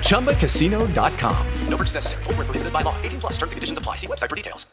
S8: ChumbaCasino.com. No purchase necessary. Void where prohibited by law. 18 plus terms and conditions apply. See website for details.